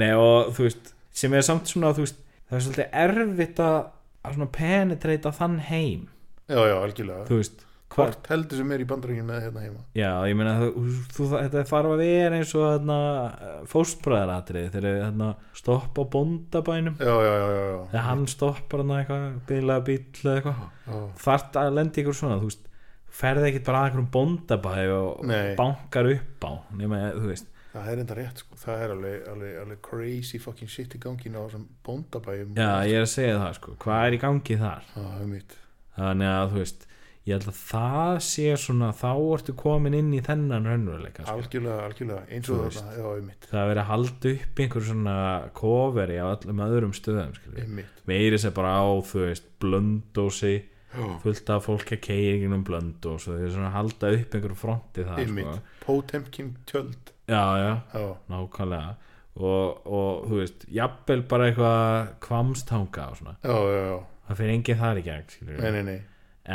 Nei, og þú veist sem er samt svona, þú veist það er svolítið erfitt að, að svona penetrata þann heim, Já, já, algjörlega þú veist hvað, Hvort heldur sem er í bandaríkinu með hérna heima Já, ég meina þú, þú, þetta þarf að vera eins og þarna fóstbræðaratrið þegar þarna stoppa á bóndabænum Já, já, já, já, já. þegar hann stoppar hann eitthvað bila bíl eða eitthvað já. þart að lenda ykkur svona þú veist, ferði ekkit bara að einhverjum bóndabæ og Nei. bankar upp á nema, þú veist, Það er enda rétt sko Það er alveg, alveg, alveg crazy fucking shit í ganginu á þessum bóndabæjum já ég er að segja það sko, hvað er í gangi þar Já, einmitt þannig að þú veist, ég held að það sé svona, þá ertu komin inn í þennan raunveruleika sko. Algjörlega, algjörlega Eins og þarna, já, einmitt það er verið að halda upp einhver svona koferi á öllum öðrum stöðum skilur. Einmitt meiri sér bara á, þú veist, blöndósi fullt af fólki að keiri gegnum blöndós og þau eru svona að halda upp einhverjum fronti það sko. Einmitt Potemkin tjöld já, já, Já, nákvæmlega og, og þú veist, jafnvel bara eitthvað kvamstanga og svona já, já, já það fyrir enginn þar í gegn skilur Nei, nei, nei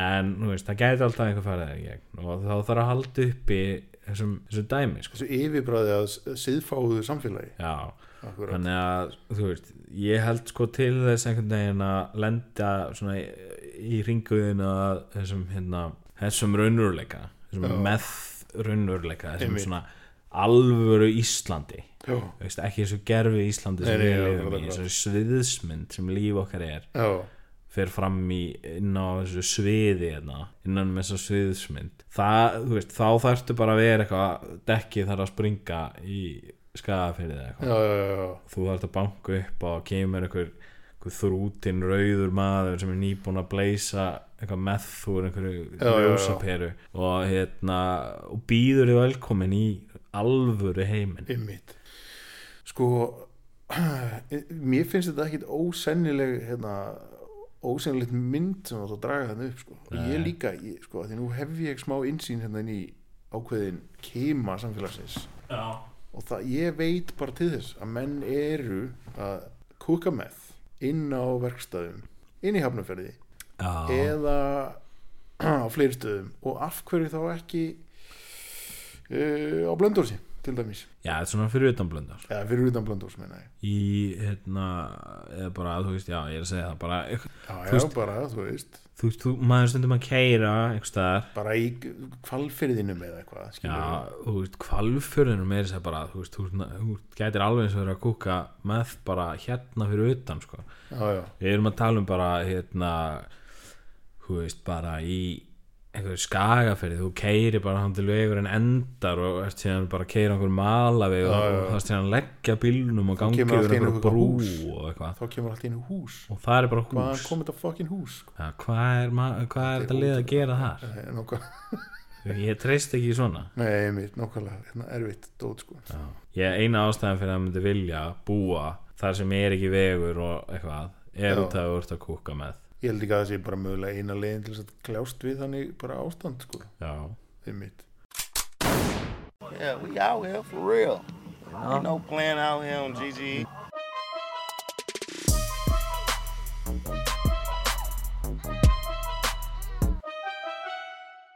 en þú veist, það gæti alltaf einhver farið þar í gegn og þá þarf að halda upp í þessum, þessum dæmi sko. Þessu yfirbræði að siðfáðu samfélagi já, Akkurat þannig að þú veist, ég held sko til þess einhvern veginn að lenda svona í, í ringuðin að þessum hérna, þessum raunurleika þessum Já. meth raunurleika þessum Einmitt. svona alvöru Íslandi já, Þú veist, ekki þessu gerfi í Íslandi sem Nei, nei, við já, lifum í, akkurat. þessu sviðsmynd sem líf okkar er já, fer fram í, inn á þessu sviði hérna, innan með þessu sviðsmynd það, þú veist, þá þarftu bara að vera eitthvað, dekkið þarf að springa í skafafyrðið eitthvað já, já, já, já. þú þarft að banka upp á og kemur einhver, einhver þrútin rauður maður sem er nýbúin að bleysa eitthvað með úr einhverju Já, já, já. ljósaperu og hérna og býður þið velkomin í alvöru heiminn Einmitt. Sko, (clears throat) mér finnst þetta ekkit ósennileg, hérna, ósennilegt mynd sem átt að draga þarna upp, sko. Og ég líka, ég, sko, af því nú hef ég smá innsýn hérna inn í ákveðin keima samfélagsins. já, Og það, ég veit bara til þess að menn eru að kúka með inn á verkstæðum, inn í hafnaferði, já, eða (clears throat) á fleiri stöðum. Og af hverju þá ekki uh, á blöndósi, til dæmis. já þetta er svona fyrir utanblöndar Eða fyrir utan blöndós, meina ég. í hérna, eða bara, þú veist, já, ég er að segja það bara, Já, já, Þú veist- bara, þú veist þú veist, þú, maður stundum að keira einhvers staðar bara í kvalfyrðinum eða eitthvað skilur Já, þú veist, kvalförðunum er þess að bara, þú veist, þú, veist, þú gætir alveg eins og verið að kúka með bara hérna fyrir utan, sko. við. já, já, Við erum að tala um bara, hérna, þú veist, bara í einhverju skagaferði, þú keiri bara hann til vegurinn endar og ert síðan bara að keira einhver mala við og já. það er síðan að leggja bílnum og gangi kemur allt í yfir einu einhverju eitthvað brú hús. og eitthvað. þá kemur allt í einu hús Og það er bara hvaðan hús. kom þetta fucking hús sko? Ja, hvað er, ma- hvað er þetta lið að gera þar? Eh, Nóka- Ég treyst ekki í svona. (laughs) nei, einmitt, nákvæmlega, hérna erfitt dót sko já, ég eina ástæðan fyrir að það myndi vilja búa þar sem er ekki vegur og eitthvað er Já. út að þú ert að kúka með ég held ekki að það sé bara mögulega eina leiðin til þess að kljást við þannig bara ástand sko, já, einmitt Yeah, we out here for real. Ain't no plan out here on E. GG.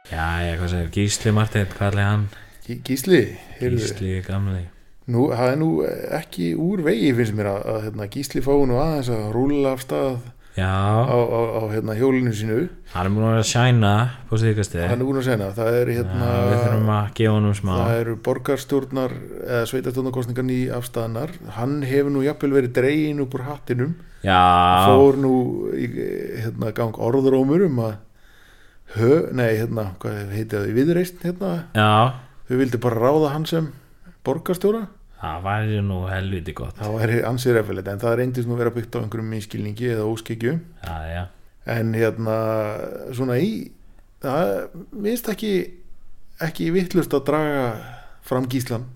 já, ég hvað segir Gísli Martin, hvað er hann? Gí- Gísli, heyrðu, Gísli gamli nú, það er nú ekki úr vegi finnst mér að, að hérna, Gísli fái nú aðeins að rúlla af stað á, já, á, á hérna, hjólinu sínu hann er múin að vera að shæna på síðkastu hann er búin að segna, það er hérna við þurfum að gefa honum smá Það eru borgarstjórnar eða sveitarstjórnarkostningar ný afstæðanar hann hefur nú jafnvel verið dregin upp úr hattinum já, fór nú í hérna, gang orðrómur um að hö, nei, hérna, hvað heiti það í viðreist hérna, já þau vildi bara ráða hann sem borgarstjóra það væri nú helviti gott þá er ansið reyfilegt, en það reyndist nú vera byggt á einhverjum minnskilningi eða óskikju já, já, en hérna, svona í það minnst ekki ekki vittlust að draga fram gíslan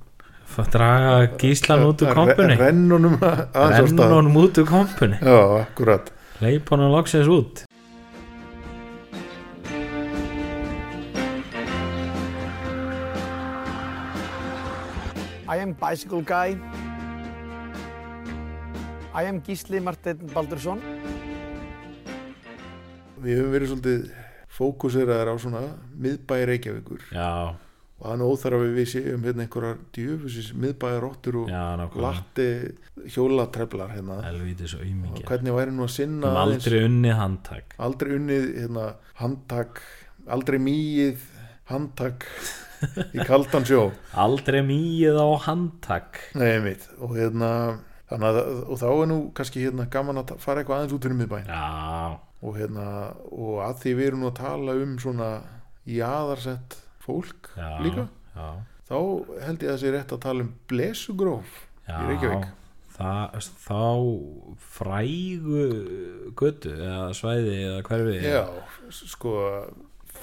Fá að draga Gíslan út úr kompunni Rennunum (laughs) aðeins á renn stað honum út úr kompunni Já, akkurat leip honum loksins út I am bicycle guy. I am Gísli Marteinn Baldursson. Við höfum verið svolítið fókuseraðar á svona miðbæi Reykjavíkur já, og þannig óþarf að við séum hérna einhverjar djöfusis miðbæi róttur og já, nákvæmlega latti hjólatreflar hérna helviti svo og ymingi hvernig væri nú að sinna Við höfum aðeins- aldrei unnið handtak aldrei unnið hérna, handtak aldrei mýið handtak í kaldan (laughs) sjó Aldrei mýið á handtak Nei, mitt og hérna Þannig að, og þá er nú kannski hérna gaman að ta- fara eitthvað aðeins út fyrir miðbæin. Já, og hérna og að því við erum nú að tala um svona jaðarsett fólk já líka, Já, þá held ég að sé rétt að tala um blesugróf í já Reykjavík Það, þá frægu götu eða svæði eða hverfi já, sko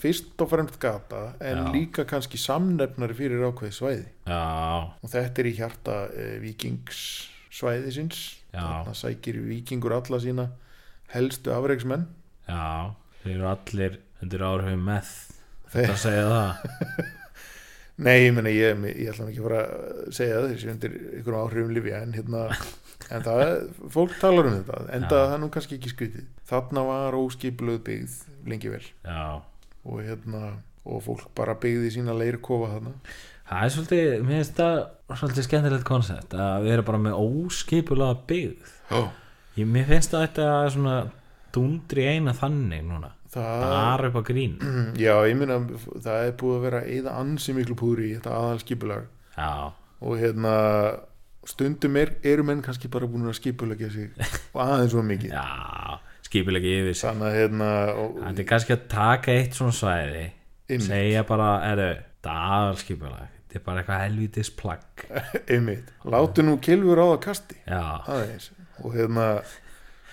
fyrst og fremst gata en Já. líka kannski samnefnari fyrir ákveði svæði já, og þetta er í hjarta e, vikings svæðisins Já. þarna sækir vikingur alla sína helstu afreiksmenn já. Þeir eru allir undir áhrifum með Þeir- Þetta segja (laughs) það Nei, ég meina, ég, ég ætla nú ekki að fara að segja það þessi undir einhverjum áhrifum lifja en hérna, en það, fólk talar um þetta enda Já. það er nú kannski ekki skrítið þarna var óskipluð byggð lengi vel Já og hérna, og fólk bara byggði sína leirkofa þarna Það er svolítið, mér finnst það svolítið skemmtilegt koncept að við erum bara með óskipulega byggð Já. Ég, Mér finnst að þetta er svona dundri eina þannig núna það, bara upp á grín já, ég meina það er búið að vera að eyða ansi miklu púri í þetta aðalskipulag já, og hérna stundum er, eru menn kannski bara búin að skipulegja sig (laughs) og aðeins svo mikið já, skipilegi yfir sig þannig að hérna og, þetta er kannski að taka eitt svona svæði Einmitt. segja bara, eru, dagalskipilag þetta er bara eitthvað helvitis plagg (laughs) einmitt, látu nú kilfur á það kasti já, aðeins og hérna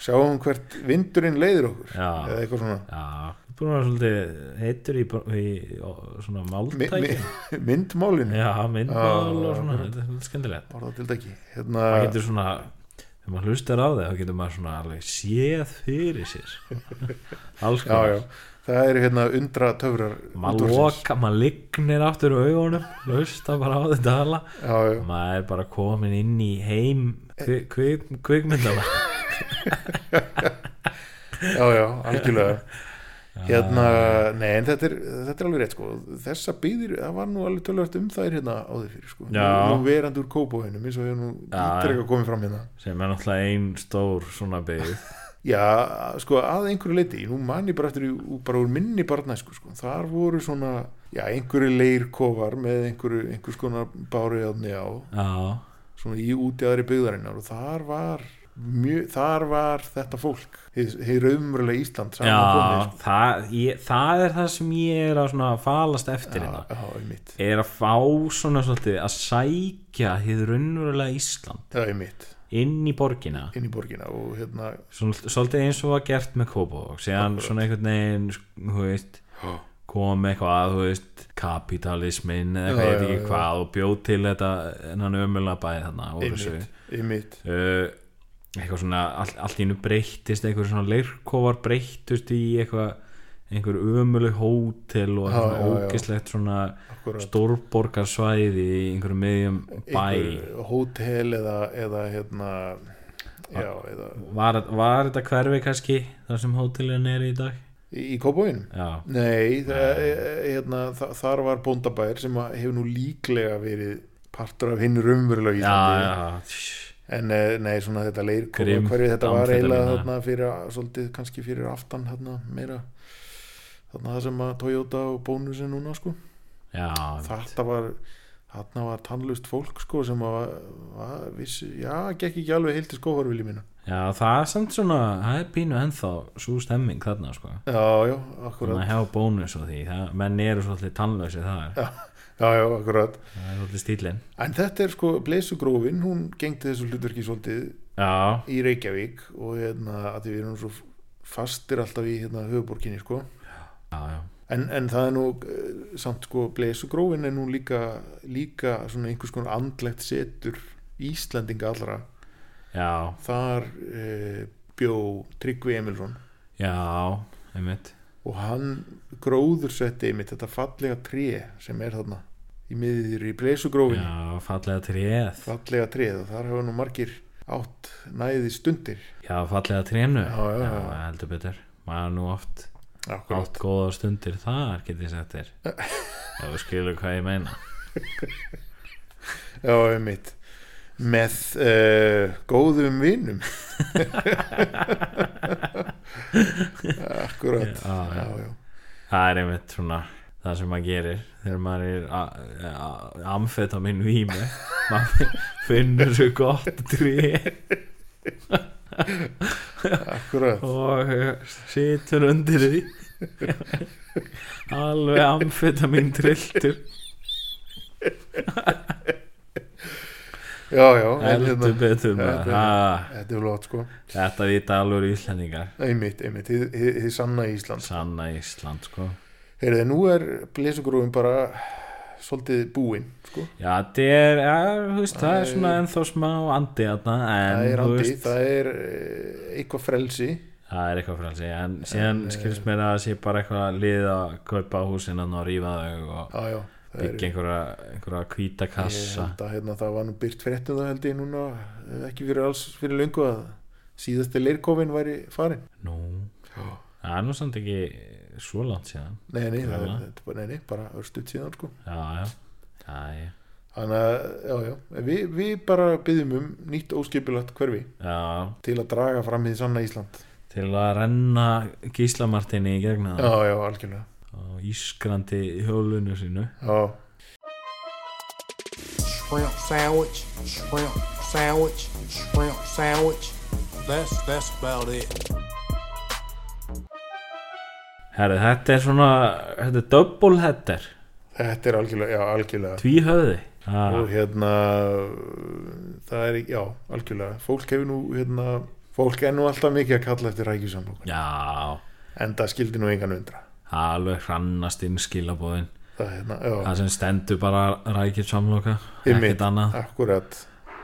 sjáum hvert vindurinn leiðir okkur Já. eða eitthvað svona já búin að vera svolítið heitur í, í ó, svona mi, mi, Ah. máltæki (laughs) myndmálin já, myndmál og svona þetta er svolítið skemmtilegt orða til dæki hérna, maður getur svona þegar maður hlustar á það, þá getur maður svona alveg séð fyrir sér (laughs) alls já, já, konar það eru hérna undra töfrar maður útvarpsins. loka, maður lignir aftur augunum hlusta bara á þetta alla já, já. og maður er bara komin inn í heim kvik, kvik, kvikmyndana já, já, algjörlega hérna, nei en þetta er, þetta er alveg rétt sko, þessa býðir það var nú alveg tölvöld um þær hérna áður fyrir sko, nú, Já. nú verandi úr kópóinum eins og ég nú Já, ítrekka komið fram hérna (laughs) sem er náttúrulega ein stór svona byggð já, sko að einhverju leiti nú man ég bara eftir, í- bara úr minni barnæsku sko, þar voru svona já, einhverju leirkofar með einhverju einhvers konar báruðjáðni á já, svona í úti aðri byggðarinnar og þar var mjög, þar var þetta fólk hið, hið raumurlega Ísland saman já komið, sko. það, ég, það er það sem ég er að svona falast eftir hérna já, já, einmitt er að fá svona svolítið að sækja hið raunverulega Ísland já, einmitt inn í borgina inn í borgina og hérna svona, svolítið eins og var gert með Kópavók síðan svona einhvern veginn sk- þú veist, kom eitthvað þú veist, kapitalismin eða eitthvað, Já, ég veit já, ekki já. hvað og bjóð til þetta hennan ömulega bæði þarna úr þessu einmitt, einmitt uh, eitthvað svona all, allt í hennu breyttist einhver svona leirkofar breyttust í eitthvað einhver ömuleg hótel og eitthvað Já, já, svona já. ógislegt svona Akkúrat. stórborgarsvæði í einhverju miðjum bæ Einhver hótel eða, eða hérna já, eða var, var þetta hverfi kannski þar sem hótelin er í dag í, í Kópóinum já, nei, það, hérna, þa- þar var bóndabæður sem að hefur nú líklega verið partur af hinn raumverulega já, Íslandi já en eh, nei, svona þetta leirkofa Grimm hverju þetta var eiginlega amfetamín, þarna fyrir svolítið kannski fyrir aftan þarna meira þarna það sem að Toyota og Bónus er núna sko já, þetta var þarna var tannlust fólk sko sem að var, vissi, já, gekk ekki alveg heilt í skófarvili mínu já, það er samt svona það er pínu ennþá svo stemming þarna sko já, já, maður akkurat hefa bónus og því það, menn eru svolítið tannlösi það er, já, já, akkurat það er svolítið stílinn en þetta er sko, Bleisugrófin, hún gengdi þessu hlutverki svolítið já, í Reykjavík og hérna, að því við erum svo fastir alltaf í hérna höfuborginni sko já, já en, en það er nú eh, samt sko, Bleisugrófin er nú líka líka svona einhvers konar andlegt setur Íslendinga allra Já, þar eh, bjó Tryggvi Emilsson já, einmitt og hann gróðursetti einmitt þetta fallega tré sem er þarna í miðir í bleysugrófinni Já, fallega tréð fallega tréð og þar hafa nú margir átt næði stundir Já, fallega trénu Já, já, já. heldur betur Maður nú oft átt góða stundir þar getið (laughs) sett þér Já, við skilur hvað ég meina já, einmitt með uh, góðum vinum akkurat Já, já. já, já. Það er einmitt svona það sem maður gerir þegar maður er a- a- amfetamin vími (laughs) maður finnur svo gott tré akkurat og eh, situr undir því alveg amfetamin trilltur já, já, en hérna, heldur þetta betur maður er- Ah. þetta er flott sko Þetta vita alveg Íslendingar einmitt, einmitt, þið, þið, þið sanna Ísland Sanna Ísland sko heyrðu, nú er bleysugrófin bara svolítið búinn sko Já, þetta er, ja, þú veist, það er svona ennþá smá andi þarna en, það er þú andi, veist, það er eh, eitthvað frelsi það er eitthvað frelsi en Eh, síðan skilst mér að það sé bara eitthvað lið að kaupa húsin þarna og rífa þau og já, já, það er byggja einhverja, einhverja hvíta ég kassa held að hérna, það var nú byrt fréttum það held ég núna eh, ekki fyrir alls fyrir löngu að síðasti leirkofin væri farin Nú, það er nú samt ekki svo langt síðan nei, nei, það er, Já. þetta er bara, nei, nei, bara örstuð síðan sko Já, já, já, já, þannig að, já, já, við, við bara byggjum um nýtt óskipilagt hverfi já til að draga fram í sanna Ísland til að renna Gíslamartinni í gegna já, það já, algjörlega á ískrandi hjólunu sínu já, Shrimp sandwich, shrimp sandwich, shrimp sandwich. That's that's about it. Herri, þetta er svona, þetta er double header, Þetta er algjörlega, já, algjörlega tvíhöfði. Ah. Ha, og hérna það er, já, algjörlega fólk hefur nú, hérna fólk er nú alltaf mikið að kalla eftir rækjusamlokun já, en það skildi nú engan undra alveg hrannast inn skilabóðin. það, hérna, já, Það sem stendur bara rækir samloka, Einmitt. ekkert annað. akkurat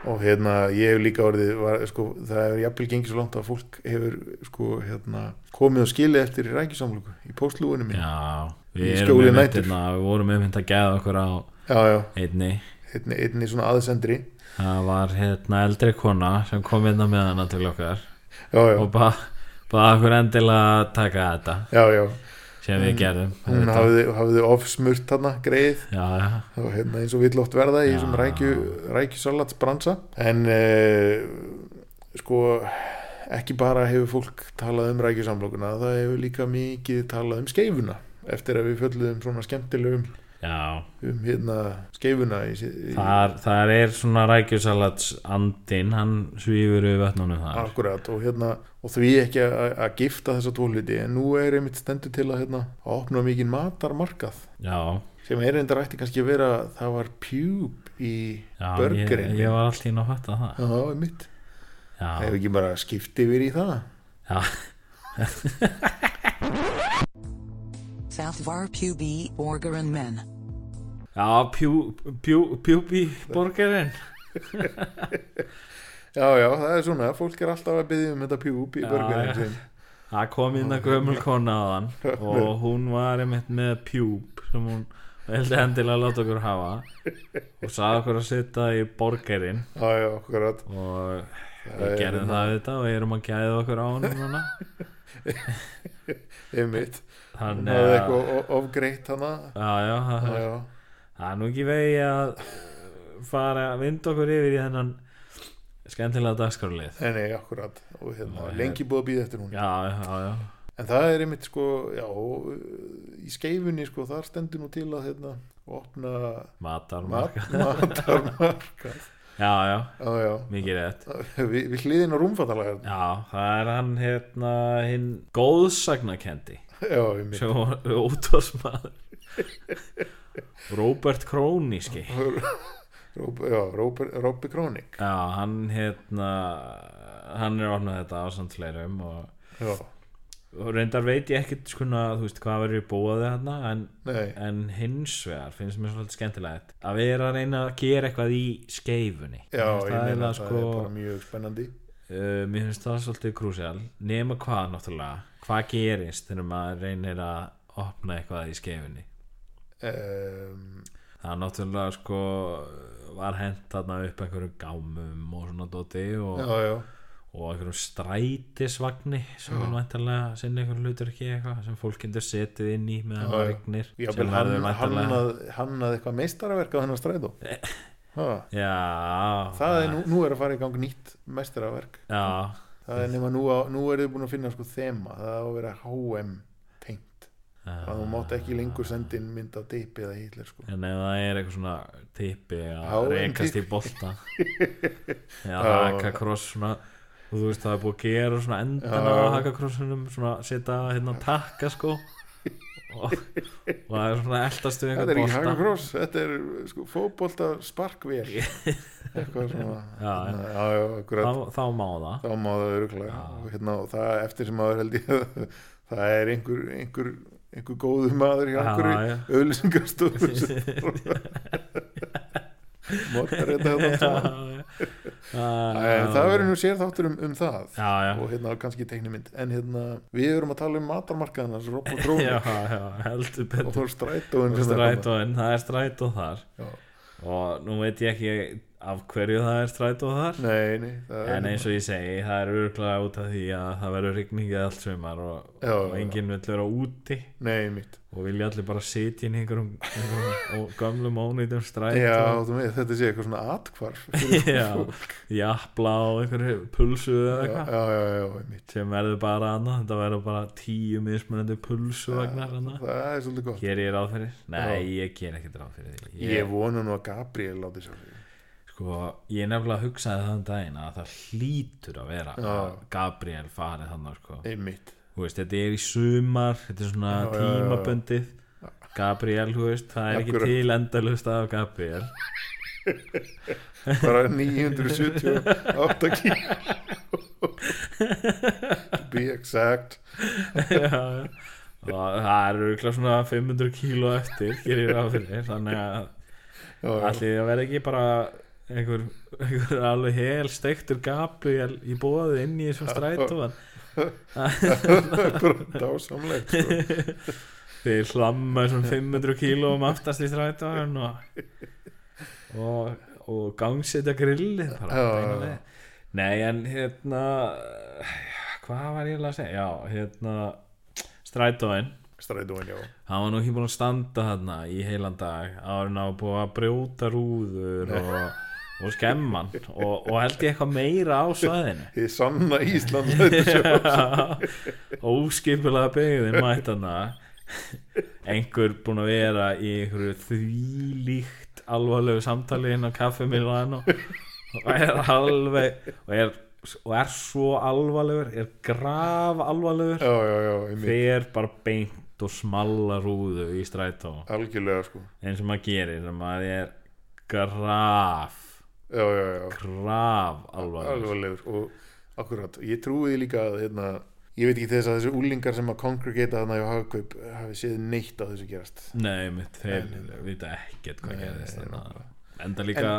og hérna, ég hef líka orðið var, sko, það hefur jafnvel gengið svo langt að fólk hefur, sko, hérna komið og skilið eftir rækjusamlokun í póstlúinu mín, Já, Í við erum skjóli um nætur. hérna, við vorum um hérna að geða okkur á já, já, einni. einni, einni svona aðsendri Það var hérna eldri kona sem kom hérna með hana til okkar já, já, og bara ba okkur endilega að taka þetta já, já sem við gerðum. Mm. hún auðvitað. hafði, hafði ofsmurt þarna greið Já, já. og hérna eins og vill oft verða í þessum rækju, rækjusalatsbransa en eh, sko ekki bara hefur fólk talað um rækjusamlokuna það hefur líka mikið talað um skeifuna eftir að við fjöldum svona skemmtilegum Já, um hérna skeifuna í, í, þar, þar er svona rækjusalats andinn, hann svífur við vötnunum þar. akkurat og hérna og því ekki að að gifta þessa tvo hluti en nú er einmitt stendur til að hérna að opna mikið matarmarkað Já, sem er enda rætti kannski að vera það var pjúb í já ég, börgurinn ég var alltaf inn að fatta það. já, einmitt Það Já, hefur ekki bara skipt yfir í það já, Southvar Pubi Orgeron Men. já pjú, pjú, pjúbi borgarinn. Já, já, það er svona, fólk er alltaf að byggja um þetta pjúb í Já, börgurinn já. sinn Það kom inn að gömul kona á (laughs) hann og hún var einmitt með pjúb sem hún veldi endilega að láta okkur hafa og sagði okkur að setja í borgarinn Já, já, akkurat og er við gerðum hérna- það þetta og erum að gæða okkur á hann núna. Einmitt, hún Þannig hafði að, eitthvað o- ofgreitt hana já, já, það Já, já, Það er nú ekki vegi að uh, fara að vinda okkur yfir í þennan skemmtilega dagskrálið. nei, nei, akkurat Og hérna, lengi búið að býða eftir hún Já, já, já. En það er einmitt, sko, já Í skeifunni, sko, þar stendur nú til að hérna, opna mat- Matarmarka. matarmarkað (laughs) Já, já, Já, já, mikið rétt. við, við hliðin á rúmfattalega Já, það er hann hérna hinn góðsagnakendi Já, einmitt sem var útvarsmaður. Robert Króníski. Rób- Já, Róbert- Róbi Krónik Já, hann hérna, hann er ofnað þetta ásamt fleirum og, Já, og reyndar veit ég ekkit skuna, þú veist, hvað verður í bóði hérna, en nei, en hins vegar finnst mér svolítið skemmtilegt að vera að reyna að gera eitthvað í skeifunni já, Mér finnst ég það meina eiginlega, það sko, er bara mjög spennandi uh, mér finnst það svolítið krúsjál nema hvað náttúrulega hvað gerist þegar maður reynir að opna eitthvað í skeifunni um, það náttúrulega sko var hent þarna upp einhverjum gámum og svona dóti og, Já, já, og einhverjum strætisvagni sem er væntanlega sinni einhverjum hlutur ekki eitthvað sem fólk getur setið inn í meðan það já. regnir ég sem vil hann, verður væntanlega- Eh. hannað, hannað eitthvað meistaraverk á þennan stræðó ha, Já, það er nú, nú er að fara í gang nýtt meistaraverk Já, það er nema nú, á, nú er þið búin að finna sko þema, það á að vera HM tengt, að þú mátt ekki lengur sendin mynd af dipi eða hitler sko. en ef það er eitthvað svona tippi að Já, en rekast í tippi. (laughs) bolta Já, hakakross svona og þú veist það er búið að gera svona endan á hakakrossunum svona setja hérna takka sko og, og það er svona eldast við þetta einhver er ekki bolta hagakross, þetta er sko, fótbolta sparkvél (laughs) eitthvað svona Já, já. já, já, já akkurat þá, þá má það þá má það öruglega og, hérna, og það eftir sem maður held ég að (laughs) það er einhver, einhver, einhver góðu maður hjá Já, já. einhverju auðlýsingarstofu (laughs) mótar þetta þarna saman. (laughs) Æ, en það verður nú sér þáttur um, um það Já, já, og hérna kannski teiknimynd en hérna við erum að tala um matarmarkaðan hans (laughs) Robbo já, Krónik já, heldur og betur fór strætóin sem það koma. Strætóin, það er strætó þar Já. og nú veit ég ekki af hverju það er strætó þar nei, nei, það En er hérna- eins og ég segi, það er örgulega út af því að það verður rigningið allt sumar og, Já, og já, já. enginn vill vera úti nei, mitt og vilja allir bara sitja inn í einhverjum, (laughs) einhverjum og gömlum ónýtum stræt já, og, þú með þetta sé eitthvað svona atkvarf (laughs) já, jafla og einhverju pulsu eða já, eitthvað já, já, já, mitt sem verður bara annað, þetta verður bara tíu mismunandi pulsu vagnar annað það er svolítið gott Ger ég ráð fyrir? Nei, ég ger ekki ráð fyrir því Ég vona nú að Gabriel láti sjá sig Sko, Sko, ég nefnilega hugsaði þann daginn að það hlýtur að vera að Gabriel farið þannig sko. einmitt Þú veist, þetta er í sumar þetta er svona tímaböndið Gabriel, þú veist, það er ekki Akkurat. til endalust af Gabriel (laughs) bara 978 kíl to be exact Já, já. og það eru örugglega svona 500 kíló eftir gerir ráð fyrir þannig að Já, já. allir að vera ekki bara einhver, einhver alveg hel steiktur Gabriel í bóði inn í þessum strætóan (laughs) bara dásamlegt sko. þeir hlamma þessum 500 kílóum um aftast í strætóan og, og, og gangsetja grillið bara Já, já, já. beina leið. nei en hérna hvað var ég eiginlega að segja já hérna strætóin strætóin já hann var nú ekki búin að standa þarna í heilan dag áður en á búið að brjóta rúður og, og skemman og, og held ég eitthvað meira á svæðinu hið sanna (laughs) Ísland þetta sjó óskipulega byggðin mætt hana einhver búin að vera í einhverju þvílíkt alvarlegu samtali inn á kaffi Milano og er alveg og er, og er svo alvarlegur er graf alvarlegur já já já einmitt fer bara beint og smalla rúðu í strætó algjörlega sko eins og maður gerir sem maður er graf já já já graf alveg alvarlegur og akkurat, ég trúi því líka að hérna, ég veit ekki þess að þessu úlingar sem að congregata þannig á hagkaup hafi séð neitt að þessu gerast nei mitt, þeir vita ekkert hvað gerðist þarna. enda líka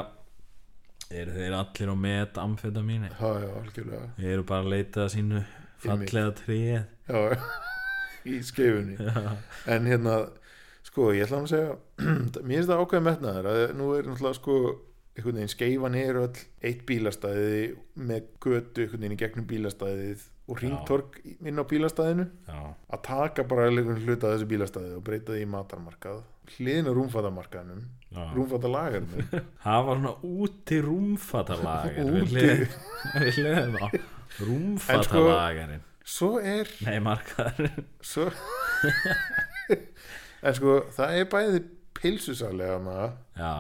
eru þeir allir á met amfetamíni já, já, algjörlega þeir eru bara að leita að sínu fallega tríð já, (laughs) í skeifunni en hérna, sko, ég ætla að segja (clears throat) mér finnst það ákveðið metnaður að nú er náttúrulega sko einhvern veginn skeifan er öll eitt bílastæði með götu einhvern veginn í gegnum bílastæðið og ringtork inn á bílastæðinu já, að taka bara einhvern hluta af þessu bílastæði og breyta því í matarmarkað hliðina rúmfattamarkaðnum Já. rúmfattalagarnum hafa svona úti rúmfatalagar Úti. við hliðum- (laughs) við hliðum á rúmfatalagarinn svo er nei markaðarinn svo (laughs) en sko það er bæði pilsusalega já,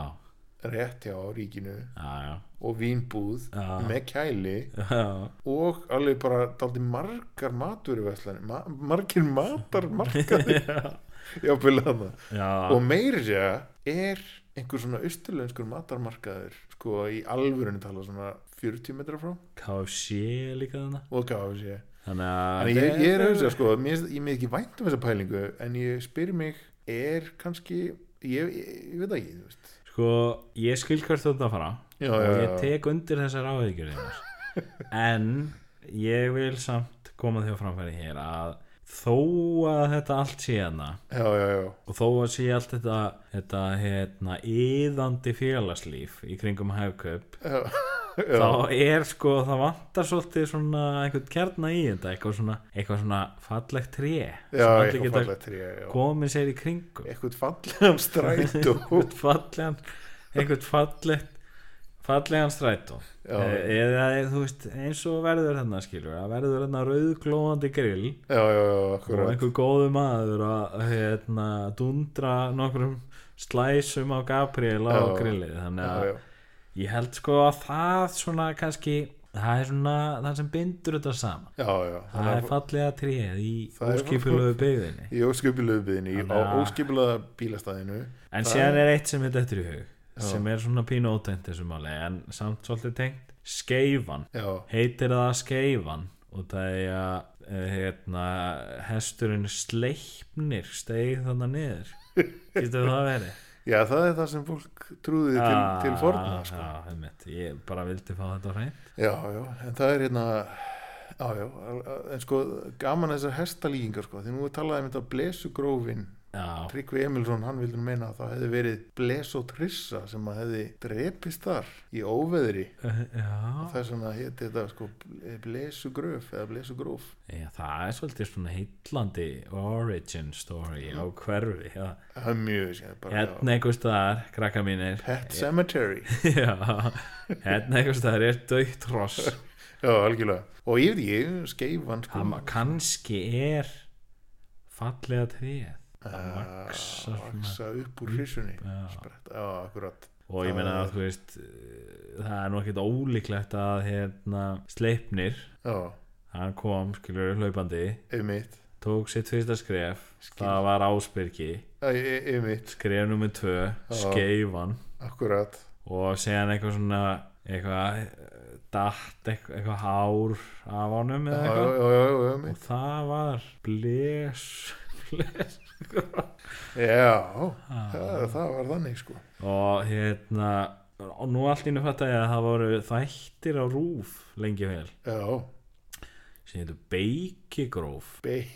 rétt hjá ríkinu já, og vínbúð Já. með kæli já, já og alveg bara daldi margar maturveslanir ma margir (laughs) matarmarkaðir jáfnvel hana Já. og meirja er einhver svona austurlenskur matarmarkaður sko í alvörunni tala svona 40 metra frá KFC líka þarna og gaf sér þannig að Þannig ég, ég er auðvitað sko, mér, finnst- ég mér ekki vænt um þessa pælingu en ég spyr mig, er kannski ég, ég, ég veit það ekki, þú veist sko ég skil hvert þú ert að fara Já, og já, ég já. tek undir þessar áhyggjur þínar. (laughs) en ég vil samt koma því á framfæri hér að þó að þetta allt sé hérna Já, já, já, og þó að sé allt þetta þetta hérna yðandi félagslíf í kringum hægköp þá er sko það vantar svolítið svona einhvern kjarna í þetta eitthvað svona, eitthvað svona fallegt tré já, sem allir eitthvað geta fallega tré já. komið sér í kringum eitthvað fallegan strætó einhvern fallegan einhvern fallegt fallegan strætó Já. Eh, eða þú veist eins og verður hérna skilur að verður hérna rauðglóðandi grill Já, já, já, og akkurat einhver góðu maður að að, hérna, dundra nokkrum slæsum á Gabriel á Já. grillið þannig Já, að já, ég held sko að það svona kannski það er svona það sem bindur þetta saman já, já það er fallega tríð í Það er- óskipulegu byggðinni í óskipulegu byðinni, á Þannig að- óskipulega bílastæðinu En síðan er eitt sem er dættur í hug sem er svona pínu ótengt þessu máli en samt svolítið tengt skeifan Já, heitir það skeifan og það er að eh, hérna, hesturinn sleipnir steig þarna (laughs) niður getur það verið já, það er það sem fólk trúði til, til forna Ah, sko. já, einmitt. ég bara vildi fá þetta á hreint Já, já, en það er hérna Já, já, en sko gaman þessar hestalíkingar sko, því nú er talað um þetta blesugrófin já, Tryggvi Emilsson, hann vildi nú meina að það hefði verið bles og trissa sem að hefði drepist þar í óveðri Eh, já. það er svona hétt þetta sko blesugröf eða blesugróf Já, það er svolítið svona heitlandi origin story á hverfi já. það er mjög skemmt bara já. hérna einhvers staðar, krakka (laughs) mínir Pet (laughs) Cemetery Já, hérna einhvers staðar er dögt hross Já, algjörlega og ég veit ekki, skeifan sko Amma, kannski er fallega tríð Eh, vaksa upp úr hrissunni spretta, já, akkurat og ég meina að þú veist eh, það er nú ekkert ólíklegt að hérna sleipnir já, hann kom skilur hlaupandi einmitt tók sitt fyrsta skref það var Ásbyrgi Æ, e- einmitt, skref nummer 2 skeifan akkurat og segja hann eitthvað svona eitthvað eh, datt eitthvað, eitthvað hár af honum eða já, já, eitthvað já, já, já, einmitt. og það var bles (laughs) bles já, já, það var þannig sko og hérna og nú allt í nú fatta ég að það voru þættir á rúf lengi vel já, sem heitur Beikigróf bei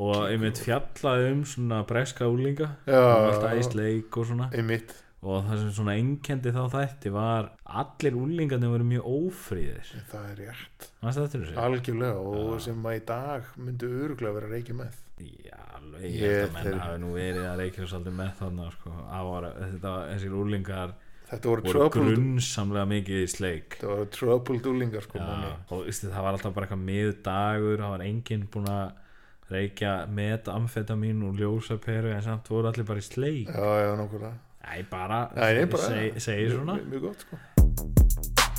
og einmitt fjallaði um svona breska úlinga Já. og allt æsleik og svona (laughs) einmitt, og það sem svona einkendi þá þætti var allir úlingarnir voru mjög ófríðir það er rétt Manstu eftir þessu? algjörlega og sem að í dag myndi öruglega vera reykja með Já, alveg, ég held Ég- að menn þeir- hafi nú verið að reykja svolítið með þarna sko. Það var, þetta, þessir úlingar þetta voru voru troubled, grunnsamlega mikið í sleik þetta voru troubled úlingar sko Já, manni. og veistu, það var alltaf bara eitthvað miðdagur það var enginn búinn að reykja metamfetamin og ljósaperu en samt voru allir bara í sleik já, já, nákvæmlega Æ, bara, Nei, nei, bara- seg, segir svona Mjög- mjög gott sko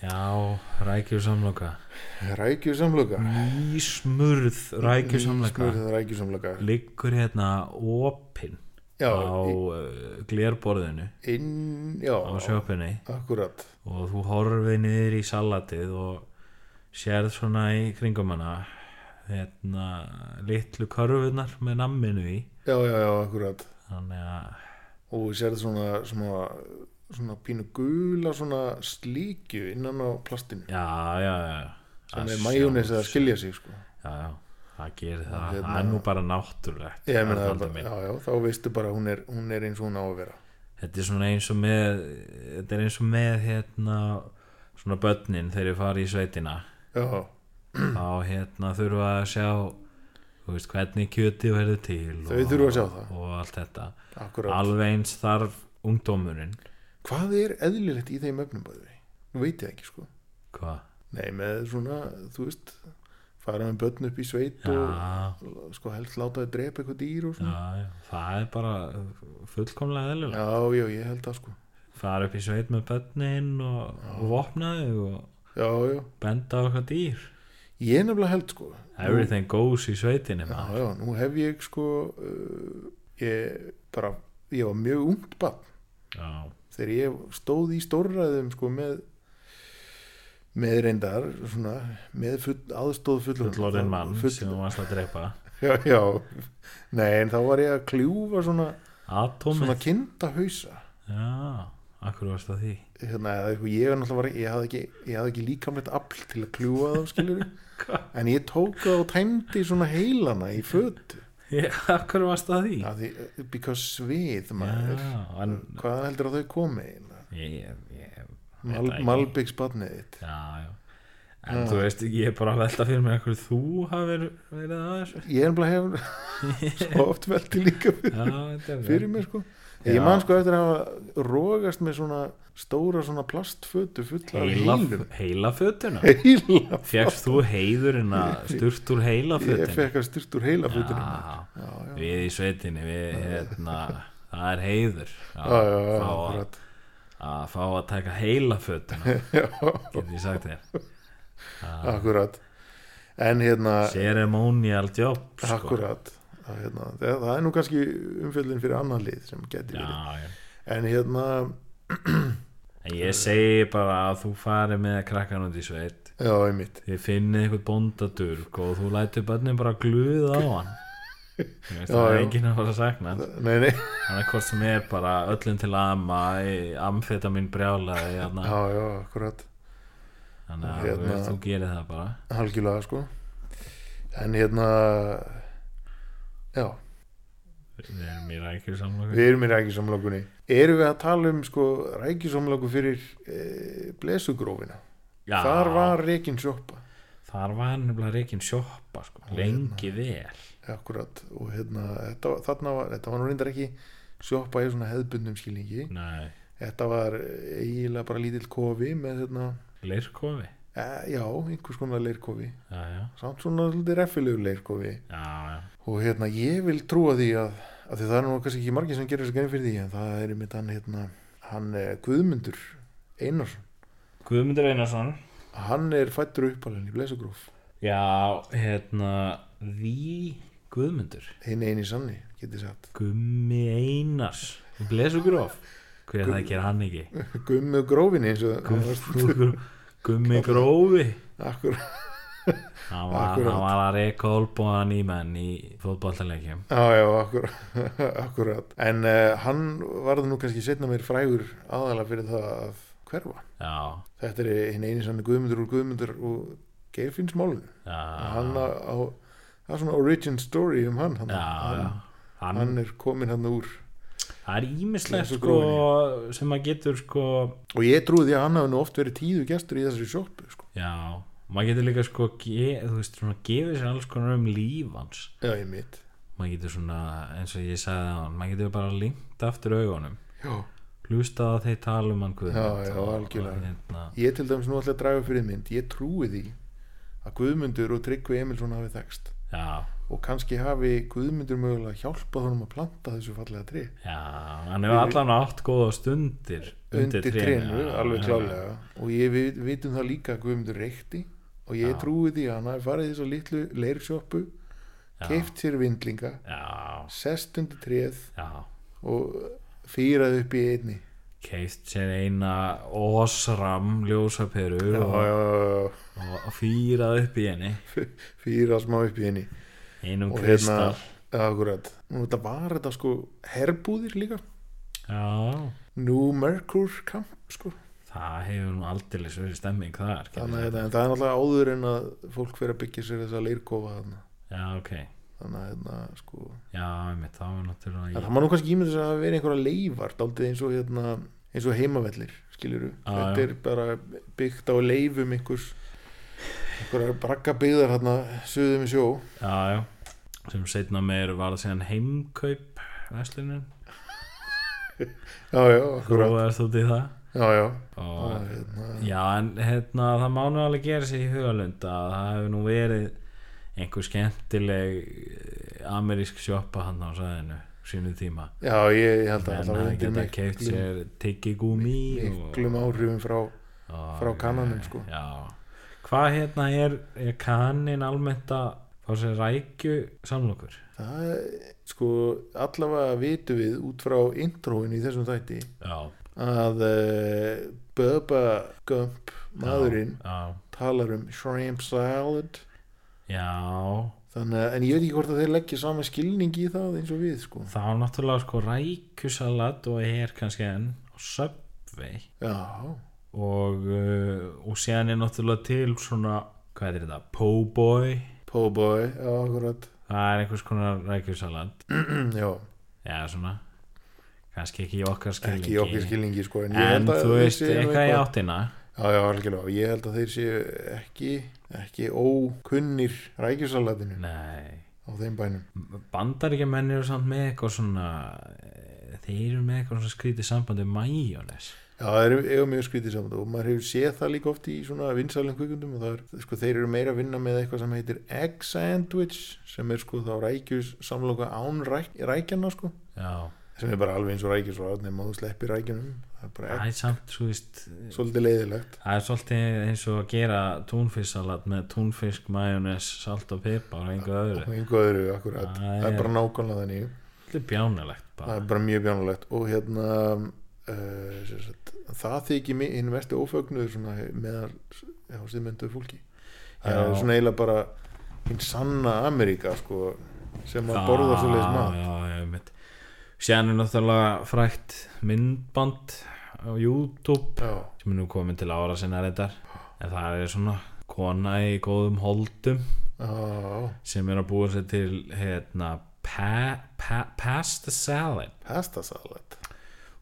Já, rækjusamloka rækjusamloka Ísmurð rækjusamloka Smurðið rækjusamloka liggur hérna opinn já, á í- uh, glerborðinu inn, já, á sjöpunni akkurat og þú horfið niður í salatið og sérð svona í kringum hana hérna, litlu körfunar með namminu í já, já, já, akkurat þannig að og þú sérð svona, svona svona pínu gula svona slíkju innan á plastinu já, já, já sem Að er sjá- majónis að skilja sig sko já, já, það gerir það, Hérna- það er nú bara náttúrulegt Ég meina, Arnaldur það- minn. já, já, þá veistu bara að hún er, hún er eins og hún á að vera þetta er svona eins og með þetta er eins og með hérna svona börnin þegar ég fari í sveitina já, Mm. þá hérna þurfa að sjá þú veist hvernig kjöti verður til Þau þurfa að sjá það. og allt þetta akkurat alveg eins þarf ungdómurinn hvað er eðlilegt í þeim öfnum bæði nú veit ég ekki sko hvað? nei, með svona, þú veist fara með börn upp í sveit Já, og sko helst láta þið drepa eitthvað dýr og já, svona já, það er bara fullkomlega eðlilega já, já, ég held það sko fara upp í sveit með börnin og, og vopna þig og já, já, benda á eitthvað dýr ég nefnilega held sko everything goes í sveitinni já, maður. já, nú hef ég sko uh, ég bara ég var mjög ungt bann já, þegar ég stóð í stórræðum sko með með reyndar svona, með full, aðstóð fullorinn fullorinn mann sem þú varst að drepa já, já, nei en þá var ég að kljúfa svona, svona atomið, kindahausa já, akkur varst að því hérna, eða eitthvað, ég, er náttúrulega var, ég, hafði ekki, ég hafði ekki líkamlegt afl til að kljúfa þá skilur en ég tók það og tæmdi svona heilana í fötu akkur varst að því Af því, eh, because svið maður já, en hvaðan heldur að þau komi eiginlega? ég, ég, ég Mal, það ekki. Malbyggs badnið þitt já, já en þú veist, ég er bara að velta fyrir mig hverju þú hafir verið að þessu ég er bara (laughs) hefur svo oft velti líka fyrir, já, þetta er fyrir vel. mér sko ég Já. man sko eftir að hafa rogast með svona stóra svona plastfötu fulla af heila, heilum heila (laughs) fötuna heila, fegst þú heiðurinn að sturt úr heila ég fötuna fekk að styrt úr heila fötunum já, við í sveitinni við, hérna, það er heiður já, já, já, já, fá að, akkurat að fá að taka heila fötuna (laughs) já, getur ég sagt þér akkurat en hérna, ceremonial job sko. akkurat að, hérna, það, það er nú kannski umfjöldin fyrir annan lið sem getur já, verið já en hérna, En ég segi bara að þú fari með krakkan út í sveit já, einmitt þið finnið eitthvað bóndadurk og þú lætur börnin bara gluða á hann Þú veist, Já, það er já. enginn að fara að sakna hann. nei, nei, hann er hvort sem er bara öllum til ama amfetamin brjálaði hérna. já, já, akkurat þannig að Hérna. hérna. þú gerir það bara algjörlega sko en hérna já, við erum í rækjur samlokur við erum í rækisamlokunni erum við að tala um sko rækisamloku fyrir e, blesugrófina þar var reikin sjoppa þar var nefnilega reikin sjoppa sko, hérna. lengi vel akkurat og hérna þetta, var- þarna var, þetta var nú reyndar ekki sjoppa í svona hefðbundum skilningi Nei, þetta var eh, eiginlega bara lítill kofi með hérna, leirkofi e, Eh, já, einhvers konar leirkofi já, já, samt svona svolítið reffilegur leirkofi já, og hérna ég vil trúa því að, að því það er nú kannski ekki margir sem gerir þessu grein fyrir því en það er einmitt hann hérna hann eh, Guðmundur Einarsson Guðmundur Einarsson hann er fættur uppalinn í Blesugróf Já, hérna Því Guðmundur hinn eini sanni, getið sagt Gummi Einars (laughs) Blesugróf Hver er það að gera hann ekki? Gummi grófin eins og (laughs) Gummi Grófi akkur, Hann var, Akkurat. hann var að reka olbúðan í menn í fótballaleikjum á, já, akkur, (laughs) akkurat en uh, hann varði nú kannski setna mér frægur aðalega fyrir það að hverfa Já, þetta er hinn eini sanni Guðmundur og Guðmundur og Geirfinns málun já, hann á, á, það er svona origin story um hann hann, já, já. hann, Hann, hann er komin hann úr Það er ímislegt Blessuð sko sem að getur sko og ég trúi því að hann hafi nú oft verið tíðu gestur í þessari sjoppu sko. Já, maður getur líka sko ge, þú veist, svona gefið sér alls konar um lífans já, ég mitt maður getur svona, eins og ég sagði á hann maður getur bara linkt aftur augunum já. hlustað að þeir tala um hann Guðmund Já, já, og- algjörlega. og hérna, ég til dæmis nú ætla að draga fyrir mynd ég trúi því að Guðmundur og Tryggvi Emilsson hafi þekst Já, og kannski hafi Guðmundur mögulega hjálpað honum að planta þessu fallega tri já, hann hefur allan átt góða stundir undir trénu, já, alveg já, klálega og ég við, vitum það líka að Guðmundur reykti og ég trúi því að hann hafi farið í þessa litlu leirsjoppu keift sér vindlinga Já, sest undir tréð já, og fýrað upp í einni keift sér eina osram ljósaperu og, og fýrað upp í henni (laughs) fýrað smá upp í einni einum og kristal hérna akkurat, nú þetta var þetta sko herbúðir líka Já, New Mercur Camp sko það hefur nú aldrei verið stemming þar getur þannig að sagt. þetta, en það er náttúrulega áður en að fólk fyrir að byggja sér þessa leirkofa þarna Já, ok þannig að hérna sko Já, einmitt, það var náttúrulega en það má nú kannski ímynda þess að það veri einhverja leifar daldið eins og hérna eins og heimavellir skiluru, Já, þetta já. er bara byggt á leifum einhvers einhverjar braggabyggðar hérna suðum í sjó Já, já sem setna meir var það síðan heimkaup verslunin, já, já, akkurat gróðast út í það já, já, og Það, hérna, já, en hérna það má nú alveg gera sér í hugalund að það hefur nú verið einhver skemmtileg eh, amerísk sjoppa hann á sæðinu sínu tíma já, ég, ég held að en það var hann undir Hérna geta keift miklum, sér tyggigúmi og, miklum áhrifum frá, og frá kananum sko. já, hvað hérna er, er kanin almennt að fá sér rækju samlokur það er, sko allavega vitum við út frá introin í þessum þætti já, að uh, Bubba Gump maðurinn já, talar um shrimp salad já þannig að, en ég veit ekki hvort að þeir leggja saman skilning í það eins og við sko þá er náttúrulega sko rækjusalat og er kannski enn og söpvei já, og, uh, og séðan er náttúrulega til svona, hvað er þetta, po-boy po' boy, já, akkurat (clears throat) það er einhvers konar rækjusalat já, já svona, kannski ekki í okkar skilningi ekki í okkur skilningi sko en, ég en held að þú þeir veist, séu nú eitthvað í áttina Já, já, algjörlega. Ég held að þeir séu ekki, ekki ókunnir rækjusalatinu nei á þeim bænum. bandaríkjamenn eru samt með eitthvað svona eh, þeir eru með eitthvað svona skrítið sambandi majónes Já, það eru eiga mjög skrítið saman og maður hefur séð það líka oft í svona vinsalum kvikundum og það er, sko, þeir eru meira að vinna með eitthvað sem heitir egg sandwich sem er sko þá rækjus samloka án ræk, rækjana sko já, sem er bara alveg eins og rækjusalat nema þú sleppir rækjunum. Það er bara það egg, er samt svo veist svolítið leiðilegt. það er svolítið eins og að gera túnfisksalat með túnfisk, majónes, salt og pipar og einhver öðru Og einhver öðru, akkurat. Það Það er- er bara nákvæmlega þannig. þetta er bjánulegt það bara er bara mjög bjánulegt og hérna uh, sem sagt, það þykir mi- hinn versti ófögnuður svona meðal já, síðmynduðu fólki það er Já. svona eiginlega bara hinn sanna Ameríka sko, sem að borða svo leiðis mat mat síðan er náttúrulega frækt myndband á YouTube já, sem er nú komin til ára sinna reyndar en það er svona kona í góðum holdum já, já sem er að búa sér til hérna pa, pa, pasta salad pasta salad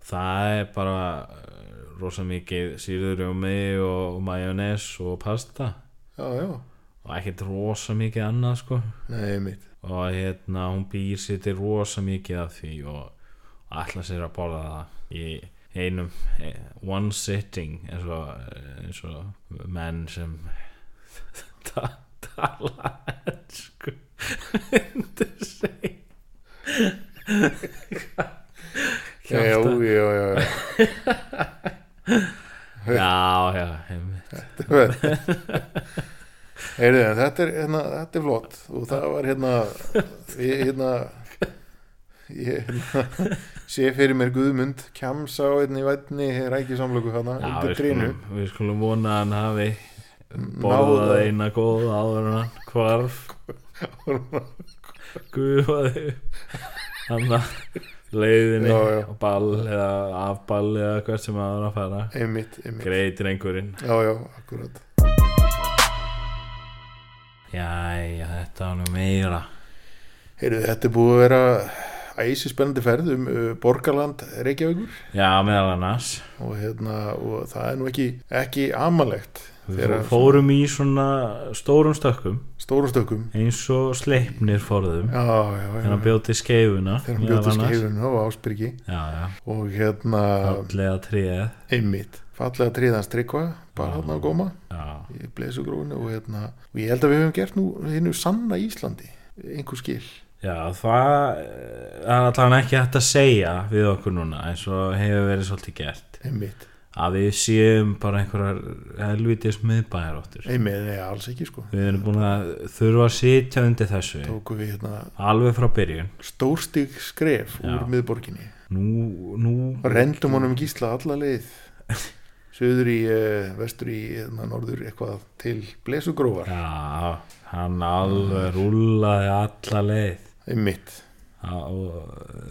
það er bara eh, rosa mikið sírðurjómi og majónes og pasta já, já, og ekkert rosa mikið annað sko nei mitt og hérna hún býr sér til rosa mikið af því og ætla sér að borða það í einum eh, one sitting eins og, eh, eins og menn sem (laughs) (laughs) ta- tala sko Heyrðu, en þetta er, hérna, þetta er flott og það var hérna ég hérna ég hérna sé fyrir mér Guðmund kjamsa á einni vætni rækisamlöku hana við undir trínu skulum, við skulum vona að hann hafi Náð borðað að- eina góða áður en hann hvarf gufaði hann að leiðinni Já, já. á ball eða af ball eða hvert sem að hann að fara einmitt, einmitt greitir einhverjinn já, já, akkurat jæja þetta var nú meira Heyrðu, þetta er búið að vera æsi spennandi ferð um uh, Borgarland Reykjavíkur já meðal annars og hérna, og það er nú ekki ekki amalegt við þegar fórum í svona stórum stökkum stóru stökkum eins og sleipnir forðum já, já, já, þegar hann bjóti skeifuna þegar hann meðal bjóti annars. skeifun á Ásbyrgi já já og hérna allega tríð einmitt, fallega tríðans tryggva bara hann á góma já í blesugróinu og hérna og ég held að við höfum gert nú hinnu sanna Íslandi einhver skil Já, það eh, er allavega ekki hægt að segja við okkur núna eins og hefur verið svolítið gert einmitt, að við séum bara einhverjar helvitis miðbæjaróttur einmitt, neða alls ekki sko Við erum búin að þurfa að sitja undir þessu tóku við hérna alveg frá byrjun stórstig skref úr miðborginni Nú, nú rendum honum gísla alla (laughs) leið söður í, eh, vestur í hérna, norður eitthvað til blesugrófar Já, hann alveg rúllaði alla leið einmitt, á,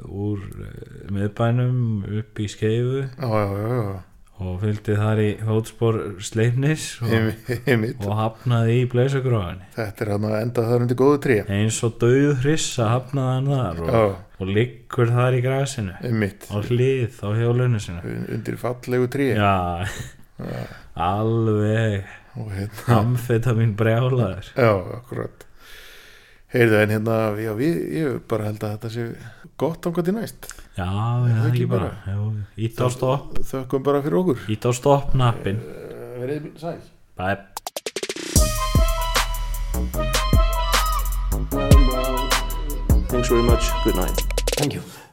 úr eh, miðbænum upp í skeifu já já já, já. og fylgdi þar í fótspor sleipnis og, Einmitt, (laughs) einmitt og hafnaði í bleisugrófinni þetta er hann að enda þar undir góðu tré eins og dauð hrissa hafnaði hann þar já, og, og liggur þar í grasinu einmitt á hlið á hjólunni sinu undir fallegu tré já (laughs) alveg og hérna amfetamin brjálaður Já, akkurat Heyrðu, en hérna, já, við, ég bara held að þetta sé gott ánkvæmt í næst já, er það ekki ekki bara Jú, ít á stopp, Þökkum bara fyrir okkur Eh, ít á stopp nappin Verið sæl bæp Thanks very much. Good night. Thank you.